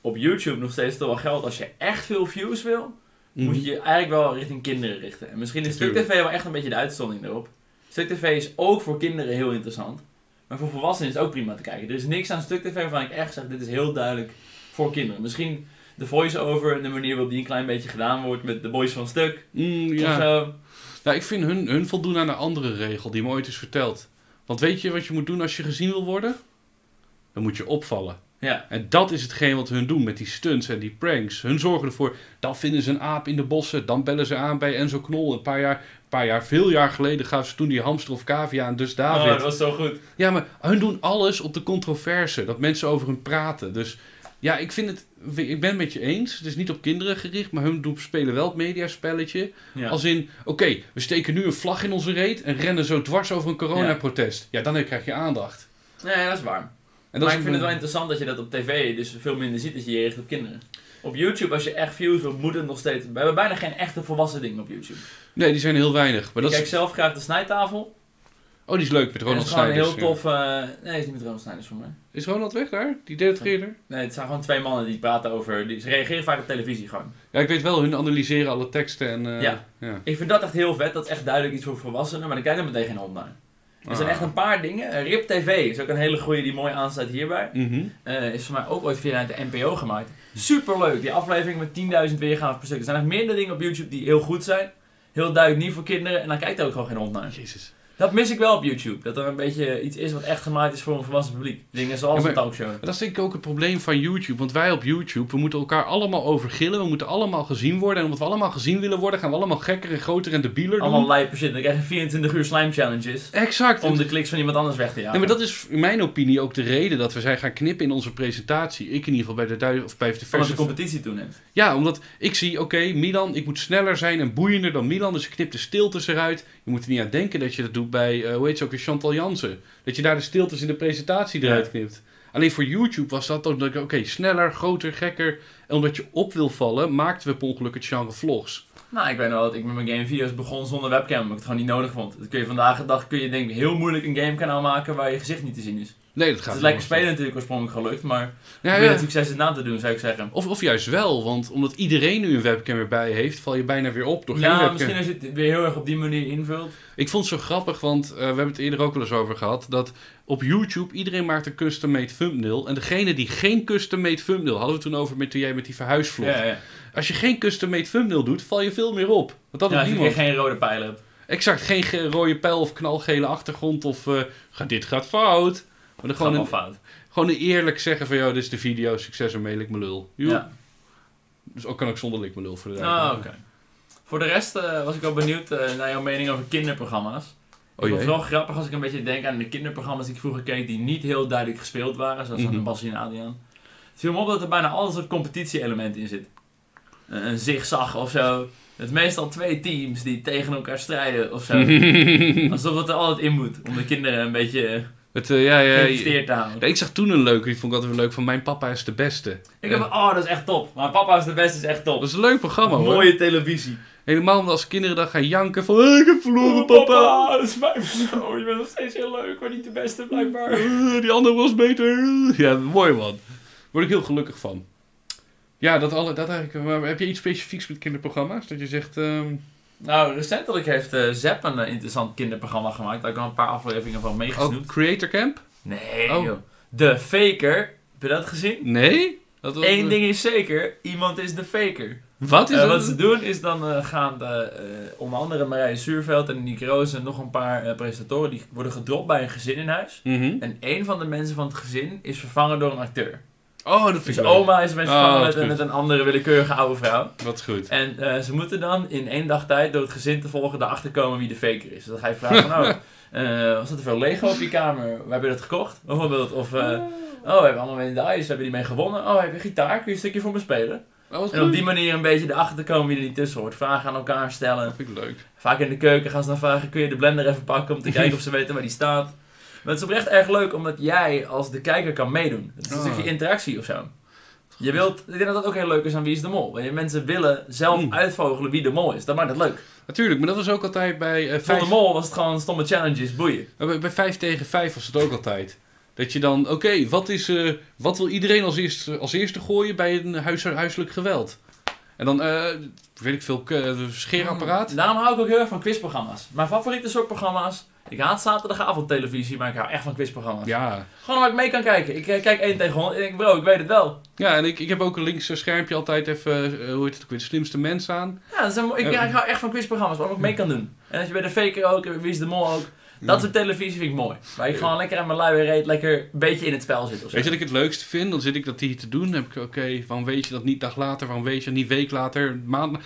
op YouTube nog steeds toch wel geldt als je echt veel views wil, Mm. moet je je eigenlijk wel richting kinderen richten. En misschien is Stuk TV Mhm. Natuurlijk. wel echt een beetje de uitzondering erop. Stuk TV is ook voor kinderen heel interessant, maar voor volwassenen is het ook prima te kijken. Er is niks aan Stuk TV waarvan ik echt zeg, dit is heel duidelijk voor kinderen. Misschien de voice-over en de manier waarop die een klein beetje gedaan wordt met de boys van Stuk Mm, of eh, ja. zo. Nou, ik vind hun, hun voldoen aan een andere regel die me ooit is verteld. Want weet je wat je moet doen als je gezien wil worden? Dan moet je opvallen. Ja. En dat is hetgeen wat hun doen met die stunts en die pranks. Hun zorgen ervoor, dan vinden ze een aap in de bossen, dan bellen ze aan bij Enzo Knol. Een paar jaar, een paar jaar veel jaar geleden gaven ze toen die hamster of cavia aan Dus Oh, David. dat was zo goed. Ja, maar hun doen alles op de controverse, dat mensen over hun praten. Dus ja, ik vind het, ik ben het met je eens. Het is niet op kinderen gericht, maar hun doen, spelen wel het mediaspelletje. Ja. Als in, oké, we steken nu een vlag in onze reet en rennen zo dwars over een coronaprotest. Ja, dan krijg je aandacht. Nee, dat is waar. En maar is ik vind het wel interessant dat je dat op tv dus veel minder ziet dat je je richt op kinderen. Op YouTube, als je echt views wil, moet het nog steeds... We hebben bijna geen echte volwassen dingen op YouTube. Nee, die zijn heel weinig. Maar ik dat is kijk zelf graag de snijtafel. Oh, die is leuk met En dat Ronald is gewoon een Snijders. heel tof... eh, Nee, is niet met Ronald Snijders voor mij. Is Ronald weg daar? Die deeltreerder? Nee, het zijn gewoon twee mannen die praten over... Die, ze reageren vaak op televisie gewoon. Ja, ik weet wel, hun analyseren alle teksten en... eh, Ja. ja. Ik vind dat echt heel vet. Dat is echt duidelijk iets voor volwassenen. Maar dan kijk ik er meteen geen hond naar. Er zijn Ah. echt een paar dingen. Eh, Rip TV is ook een hele goeie die mooi aansluit hierbij. Mhm. Eh, is voor mij ook ooit via de NPO gemaakt. Superleuk, die aflevering met 10.000 weergaves per stuk. Er zijn echt meerdere dingen op YouTube die heel goed zijn. Heel duidelijk niet voor kinderen en dan kijkt er ook gewoon geen hond naar. Jezus. Dat mis ik wel op YouTube. Dat er een beetje iets is wat echt gemaakt is voor een volwassen publiek. Dingen zoals Ja, een maar- talkshow. Maar Dat is denk ik ook het probleem van YouTube. Want wij op YouTube, we moeten elkaar allemaal overgillen. We moeten allemaal gezien worden. En omdat we allemaal gezien willen worden, gaan we allemaal gekker en groter en debieler Allemaal doen. lijpe shit. Dan krijg je 24 uur slime challenges. Exact. Om de kliks van iemand anders weg te jagen. Nee, maar dat is in mijn opinie ook de reden dat we zijn gaan knippen in onze presentatie. Ik in ieder geval bij de duivel of bij de Omdat de verse. competitie toeneemt. Ja, omdat ik zie, oké, Milan, ik moet sneller zijn en boeiender dan Milan. Dus ik knip de stiltes eruit. Je moet er niet aan denken dat je dat doet bij, eh, hoe heet ze ook weer, Chantal Jansen. Dat je daar de stiltes in de presentatie eruit Ja. knipt. Alleen voor YouTube was dat ook, dat ik, oké, sneller, groter, gekker. En omdat je op wil vallen, maakten we per ongeluk het genre vlogs. Nou, ik weet nog wel dat ik met mijn game video's begon zonder webcam. Omdat ik het gewoon niet nodig vond. Dat kun je vandaag de dag kun je denk ik heel moeilijk een gamekanaal maken waar je gezicht niet te zien is. Nee, dat gaat Het is niet lekker anders. spelen natuurlijk oorspronkelijk gelukt. Maar Ja, probeer ja. het succes het na te doen zou ik zeggen. Of, of juist wel, want omdat iedereen nu een webcam erbij heeft, val je bijna weer op door geen ja, webcam. misschien als je het weer heel erg op die manier invult. Ik vond het zo grappig, want eh, we hebben het eerder ook wel eens over gehad. Dat op YouTube iedereen maakt een custom-made thumbnail. En degene die geen custom-made thumbnail hadden we toen over met toen jij met die verhuisvlog. Ja, ja. Als je geen custom-made thumbnail doet, val je veel meer op. Want dat Ja, doet als je niemand. weer geen rode pijlen hebt. Exact, geen ge- rode pijl of knalgele achtergrond of eh, ga- dit gaat fout. Maar dan Gewoon gewoon, wel een, fout. gewoon een eerlijk zeggen van, joh, dit is de video, succes ermee, lik me lul. Joe. Ja. Dus ook kan ook zonder lik me lul voor de Ah, duidelijkheid. oké. Voor de rest eh, was ik wel benieuwd eh, naar jouw mening over kinderprogramma's. Oh Ah, ik vond jee. het wel (laughs) grappig als ik een beetje denk aan de kinderprogramma's die ik vroeger keek die niet heel duidelijk gespeeld waren, zoals Mhm. aan Bas en Adriaan. Het viel me op dat er bijna altijd een competitie-element in zit. Een, een zigzag of zo. Het meestal twee teams die tegen elkaar strijden of zo. Mhm. Alsof dat er altijd in moet, om de kinderen een beetje eh, (laughs) Het, eh, ja, ja, ja. geïnvesteerd te houden. Nee, ik zag toen een leuke, die vond ik altijd wel leuk, van mijn papa is de beste. Ik heb, oh, dat is echt top. Maar Papa is de Beste is echt eh, Dat top. is een leuk programma hoor. Mooie televisie. Helemaal omdat als kinderen dan gaan janken van "Eh, ik heb verloren Oh, papa. dat is mijn persoon. Je bent nog steeds heel leuk, maar niet de beste blijkbaar. Eh, Die andere was beter. Eh, Ja, mooi man. Word ik heel gelukkig van. Ja, dat, alle, dat eigenlijk. Maar heb je iets specifieks met kinderprogramma's? Dat je zegt. ehm, Nou, recentelijk heeft eh Zep een eh, interessant kinderprogramma gemaakt. Daar heb ik al een paar afleveringen van meegesnoept. oh, Creator Camp? Nee, Oh. joh. De Faker. Heb je dat gezien? Nee? Dat was- Eén ding is zeker, iemand is de faker. Wat is Eh, dat? wat ze doen is dan eh, gaan de, eh, onder andere Marije Zuurveld en Nick Roos en nog een paar eh, presentatoren die worden gedropt bij een gezin in huis. Mhm. En één van de mensen van het gezin is vervangen door een acteur. Oh, dat vind Dus ik leuk. oma is mensen Oh, vervangen wat met, een- goed. met een andere willekeurige oude vrouw. Dat is goed. En eh, ze moeten dan in één dag tijd door het gezin te volgen erachter komen wie de faker is. Dus dan ga je (laughs) vragen van, oh, eh, was dat te veel Lego op je kamer? Waar heb je dat gekocht? Bijvoorbeeld. Of, eh, oh, we hebben allemaal medailles, we hebben die mee gewonnen. Oh, heb je gitaar? Kun je een stukje voor me spelen? Oh, wat En op leuk. die manier een beetje erachter te komen wie er niet tussen hoort. Vragen aan elkaar stellen. Dat vind ik leuk. Vaak in de keuken gaan ze dan vragen, kun je de blender even pakken om te kijken (laughs) of ze weten waar die staat. Maar het is oprecht erg leuk omdat jij als de kijker kan meedoen. Het is een Ah. stukje interactie of zo. Je wilt, ik denk dat dat ook heel leuk is aan Wie is de Mol. Want je mensen willen zelf Mm. uitvogelen wie de mol is. Dat maakt het leuk. Natuurlijk, maar dat was ook altijd bij. eh, Voor vijf- de mol was het gewoon stomme challenges, boeien. Maar Oh, Bij, bij 5 tegen 5 was het ook altijd. Dat je dan, oké, wat, is, eh, wat wil iedereen als eerste, als eerste gooien bij een huis, huiselijk geweld? En dan, eh, weet ik veel, ke- scheerapparaat? Mm. Daarom hou ik ook heel erg van quizprogramma's. Mijn favoriete soort programma's. Ik haat zaterdagavond televisie, maar ik hou echt van quizprogramma's. Ja. Gewoon waar ik mee kan kijken. Ik eh, kijk 1 tegen 100 en ik denk, bro, ik weet het wel. Ja, en ik, ik heb ook een links eh, schermpje altijd even, eh, hoe heet het ook weer, de slimste mens aan. Ja, dat is een mo- ik, Ja. ik hou echt van quizprogramma's waar ik ook mee kan doen. En dat je bij de faker ook, en Wie is de Mol ook. Dat soort televisie vind ik mooi. Waar ik gewoon lekker aan mijn luie reet, lekker een beetje in het spel zit of zo. Weet je wat ik het leukste vind? Dan zit ik dat hier te doen. Dan heb ik, oké, waarom weet je dat niet dag later? Waarom weet je dat niet week later? Maand...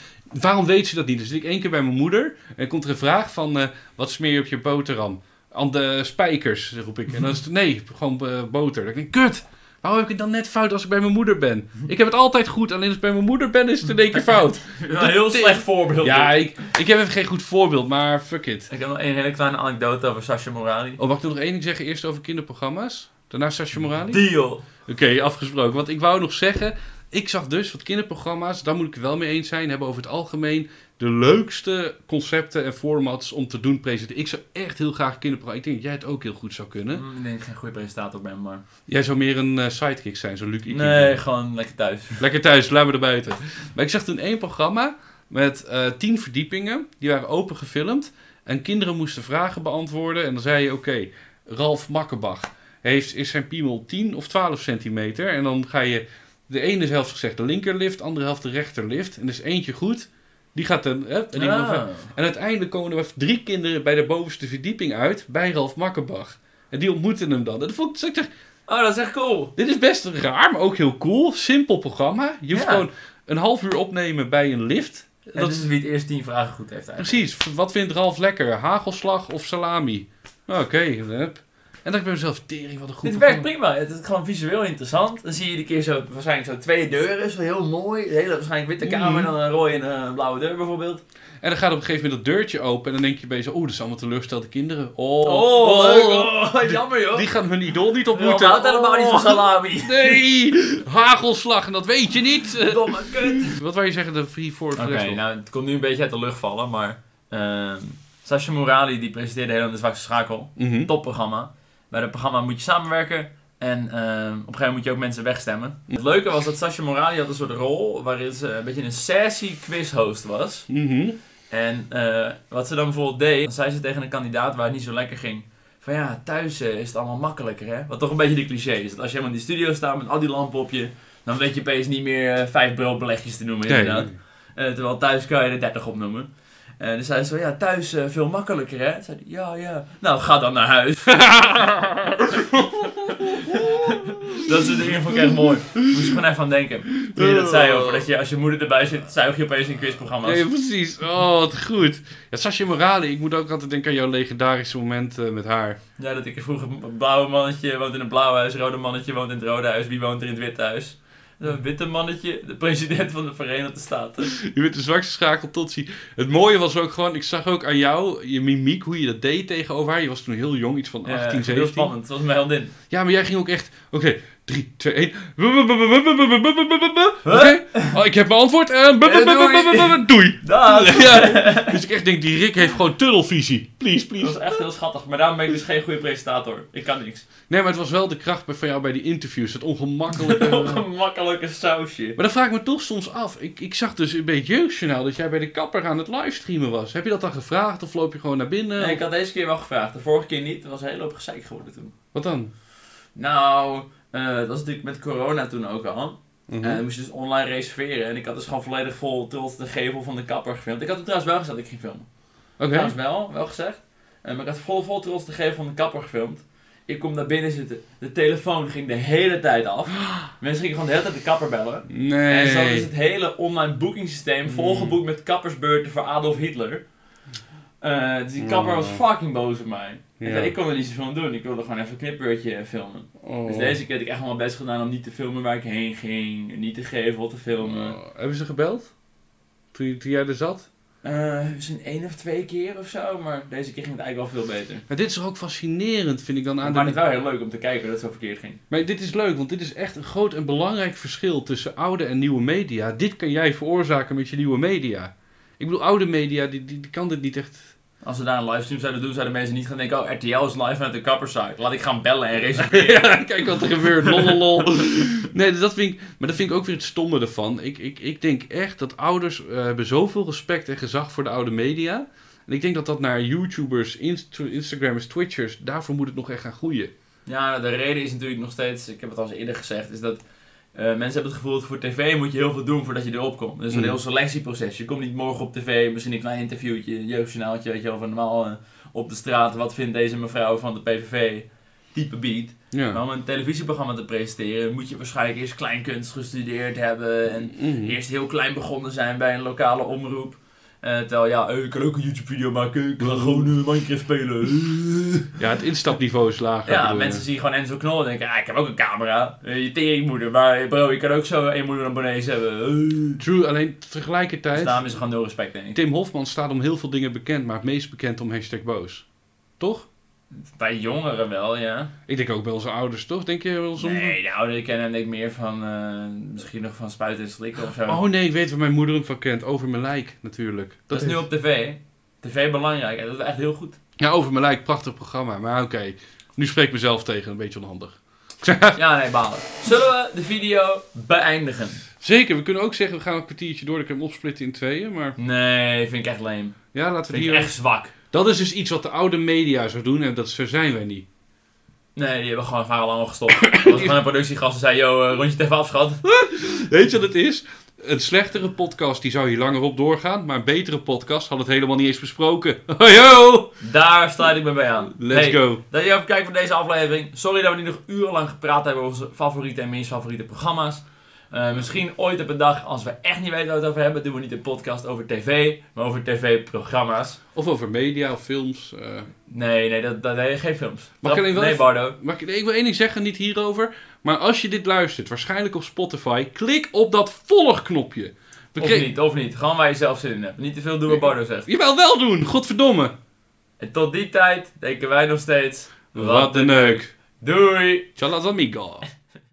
Waarom weet je dat niet? Dan zit ik één keer bij mijn moeder en komt er een vraag van, eh, wat smeer je op je boterham? Aan de spijkers, roep ik. En dan is het, nee, gewoon eh, boter. Dan denk ik, kut! Waarom heb ik het dan net fout als ik bij mijn moeder ben? Ik heb het altijd goed, alleen als ik bij mijn moeder ben is het in één keer fout. Een heel slecht voorbeeld. Ja, dit. ik, ik heb even geen goed voorbeeld, maar fuck it. Ik heb nog een hele kleine anekdote over Sasha Morali. Oh, mag ik nog één ding zeggen? Eerst over kinderprogramma's? Daarna Sasha Morali? Deal! Oké, afgesproken. Want ik wou nog zeggen, ik zag dus wat kinderprogramma's, daar moet ik het wel mee eens zijn, hebben over het algemeen de leukste concepten en formats om te doen presenteren. Ik zou echt heel graag kinderprogramma's. Ik denk dat jij het ook heel goed zou kunnen. Mm, Ik denk dat ik geen goede presentator ben, maar... Jij zou meer een eh, sidekick zijn, zo'n Luc Ikink. Nee, gewoon lekker thuis. Lekker thuis, laat me er buiten. Maar ik zag toen één programma met eh, tien verdiepingen. Die waren open gefilmd. En kinderen moesten vragen beantwoorden. En dan zei je, oké, Ralf Makkenbach heeft, is zijn piemel 10 of 12 centimeter. En dan ga je de ene helft gezegd de linkerlift, de andere helft de rechterlift. En er is eentje goed. Die gaat dan. Hè, en, die Ah. man van- en uiteindelijk komen er drie kinderen bij de bovenste verdieping uit. Bij Ralf Makkenbach. En die ontmoeten hem dan. En dat vond ik, ik dacht, Oh, dat is echt cool. dit is best raar, maar ook heel cool. Simpel programma. Je hoeft Ja. dus- gewoon een half uur opnemen bij een lift. Dat Dat is wie het eerst tien vragen goed heeft eigenlijk. Precies. Wat vindt Ralf lekker? Hagelslag of salami? Oké. hup. En dan dacht ik bij mezelf, tering, wat een goed Dit programma. werkt prima. Het is gewoon visueel interessant. Dan zie je iedere keer zo, waarschijnlijk zo twee deuren. Zo heel mooi. Een hele waarschijnlijk witte kamer. Mhm. En dan een rode en een blauwe deur bijvoorbeeld. En dan gaat op een gegeven moment dat deurtje open. En dan denk je bij jezelf, oeh, dat zijn allemaal teleurgestelde kinderen. Oh, Oh, oh, leuk. oh. Oh, jammer joh. Oh, Die gaan hun idool niet ontmoeten. moeten. Houdt helemaal niet van Oh, (laughs) salami. Nee, hagelslag, en dat weet je niet. (laughs) Eh, Domme kut. Wat wou je zeggen, de Free Forward Oké, Flexible? nou het komt nu een beetje uit de lucht vallen, maar... ehm Sasha Morali die presenteerde heel aan de zwakste schakel. Mhm, Topprogramma. Bij dat programma moet je samenwerken. En ehm, op een gegeven moment moet je ook mensen wegstemmen. Het leuke was dat Sasha Morali had een soort rol waarin ze een beetje een sassy quizhost was. mhm. En eh, wat ze dan bijvoorbeeld deed, dan zei ze tegen een kandidaat waar het niet zo lekker ging. Van ja, thuis eh, is het allemaal makkelijker hè. Wat toch een beetje de cliché is. Dat als je helemaal in die studio staat met al die lampen op je, dan weet je opeens niet meer eh, vijf broodbelegjes te noemen Nee. inderdaad. Eh, terwijl thuis kan je er 30 op noemen. En dus zei ze zo, ja, thuis eh, veel makkelijker, hè? Zei hij, ja, ja. Nou, ga dan naar huis. dat soort dingen vond ik echt mooi. Moest je gewoon even aan denken. Toen je dat zei over dat je, als je moeder erbij zit, zuig je opeens in quizprogramma's. Nee, precies. Oh, wat goed. Ja, Sascha Morale, ik moet ook altijd denken aan jouw legendarische moment eh, met haar. (laughs) Ja, dat ik vroeger een blauwe mannetje woont in het blauwe huis, rode mannetje woont in het rode huis, wie woont er in het witte huis? Een witte mannetje, de president van de Verenigde Staten. Je bent de zwakste schakel tot zie. Het mooie was ook gewoon, ik zag ook aan jou, je mimiek, hoe je dat deed tegenover haar. Je was toen heel jong, iets van Ja, 18, Heel 17. spannend, het was mijn heldin. Ja, maar jij ging ook echt. Oké, 3, 2, 1. Oké, Oh, ik heb mijn antwoord. Eh, bup, bup, bup, bup, bup, bup, Doei. Daag! (laughs) Ja, dus ik echt denk, die Rick heeft gewoon tunnelvisie. Please, Dat was please. echt heel schattig, maar daarom ben ik dus geen goede presentator. Ik kan niks. Nee, maar het was wel de kracht bij- van jou bij die interviews. Het ongemakkelijke. (laughs) Ongemakkelijke sausje. Maar dan vraag ik me toch soms af. Ik, ik zag dus bij het jeugdjournaal dat jij bij de kapper aan het livestreamen was. Heb je dat dan gevraagd of loop je gewoon naar binnen? Nee, ik Of- had deze keer wel gevraagd, de vorige keer niet. Het was een hele hoop gezeik geworden toen. Wat dan? Nou, eh, dat was natuurlijk met corona toen ook al. Mhm. En dan moest je dus online reserveren. En ik had dus gewoon volledig vol tot de gevel van de kapper gefilmd. Ik had het trouwens wel gezegd dat ik ging filmen. Oké. Trouwens wel, wel gezegd. Eh, maar ik had vol, vol trots de gevel van de kapper gefilmd. Ik kom daar binnen zitten. De telefoon ging de hele tijd (gasps) af. Mensen gingen gewoon de hele tijd de kapper bellen. En zo is Nee. het hele online boekingssysteem Hmm. volgeboekt met kappersbeurten voor Adolf Hitler. Eh, dus die kapper was fucking boos op mij. Ik Hmm. Ja. zei, Ik kon er niet zoveel aan doen. Ik wilde gewoon even een knipbeurtje filmen. Oh. Dus deze keer had ik echt wel mijn best gedaan om niet te filmen waar ik heen ging. Niet de gevel te filmen. Oh, Hebben ze gebeld? Toen, toen jij er zat? Eh, misschien één of twee keer of zo, maar deze keer ging het eigenlijk wel veel beter. Maar dit is toch ook fascinerend, vind ik dan aan. maar de... het was wel heel leuk om te kijken dat het zo verkeerd ging. Maar dit is leuk, want dit is echt een groot en belangrijk verschil tussen oude en nieuwe media. Dit kan jij veroorzaken met je nieuwe media. Ik bedoel, oude media, die, die, die kan dit niet echt... Als we daar een livestream zouden doen, zouden mensen niet gaan denken: Oh, RTL is live vanuit de kappersite. Laat ik gaan bellen en (laughs) reserveren. Kijk wat er gebeurt, lololol. Nee, dus dat vind ik, maar dat vind ik ook weer het stomme ervan. Ik, ik, ik denk echt dat ouders eh, hebben zoveel respect en gezag voor de oude media. En ik denk dat dat naar YouTubers, Inst- Instagrammers, Twitchers, daarvoor moet het nog echt gaan groeien. (laughs) ja, de reden is natuurlijk nog steeds, ik heb het al eens eerder gezegd, is dat eh, mensen hebben het gevoel dat voor tv moet je heel veel doen voordat je erop komt. Dus een Mm. heel selectieproces. Je komt niet morgen op tv, misschien een klein interviewtje, een jeugdjournaaltje, weet je wel, van normaal eh, op de straat. Wat vindt deze mevrouw van de PVV? Type beat. Maar Ja. om een televisieprogramma te presenteren moet je waarschijnlijk eerst kleinkunst gestudeerd hebben en Mhm. eerst heel klein begonnen zijn bij een lokale omroep. Eh, terwijl, ja, eh, ik kan ook een YouTube-video maken, ik kan gewoon eh, Minecraft spelen. Ja, het instapniveau is lager. ja, bedoel je. mensen zien gewoon Enzo Knol en denken, ah, ik heb ook een camera. Eh, je teringmoeder, maar bro, je kan ook zo een moeder abonnees hebben. Eh. True, alleen Dus tegelijkertijd... daarom is er gewoon nul respect, denk ik. Tim Hofman staat om heel veel dingen bekend, maar het meest bekend om hashtag boos. Toch? Bij jongeren wel, ja. Ik denk ook bij onze ouders, toch? Denk je wel eens om... Nee, de ouderen kennen hem denk ik meer van, eh, misschien nog van spuiten en slikken of zo. Oh nee, ik weet waar mijn moeder hem van kent. Over mijn lijk, natuurlijk. Dat, dat is nu op tv. TV belangrijk, en dat is echt heel goed. Ja, Over mijn lijk, prachtig programma. Maar oké, nu spreek ik mezelf tegen, een beetje onhandig. Ja, nee, balen. Zullen we de video beëindigen? Zeker, we kunnen ook zeggen, we gaan een kwartiertje door. Ik kan hem opsplitten in tweeën, maar... Nee, vind ik echt lame. Ja, laten we Vind ik hier... echt zwak. Dat is dus iets wat de oude media zou doen en dat zo zijn wij (laughs) niet. Nee, die hebben gewoon varenlang al gestopt. Er was gewoon een productiegast die zei, yo, eh, rondje het even af, schat. Weet je wat het is? Een slechtere podcast, die zou hier langer op doorgaan. Maar een betere podcast had het helemaal niet eens besproken. (laughs) Hoi ho! Daar sluit ik me bij aan. Let's Hey, go. Dat je even kijkt van deze aflevering. Sorry dat we niet nog urenlang gepraat hebben over onze favoriete en minst favoriete programma's. Eh, misschien ooit op een dag, als we echt niet weten waar we het over hebben, doen we niet een podcast over tv, maar over tv-programma's. Of over media of films. eh. Nee, nee, dat, dat, nee, geen films. Maar ik alleen wel nee, even- Bardo. Maar ik, ik wil één ding zeggen, niet hierover. Maar als je dit luistert, waarschijnlijk op Spotify, klik op dat volgknopje. We Of kregen- niet, of niet. Gewoon waar je zelf zin in hebt. Niet te veel doen wat Bardo zegt. Jawel, wel doen, godverdomme. En tot die tijd denken wij nog steeds... Wat een neuk. Doei! Chalas amigos.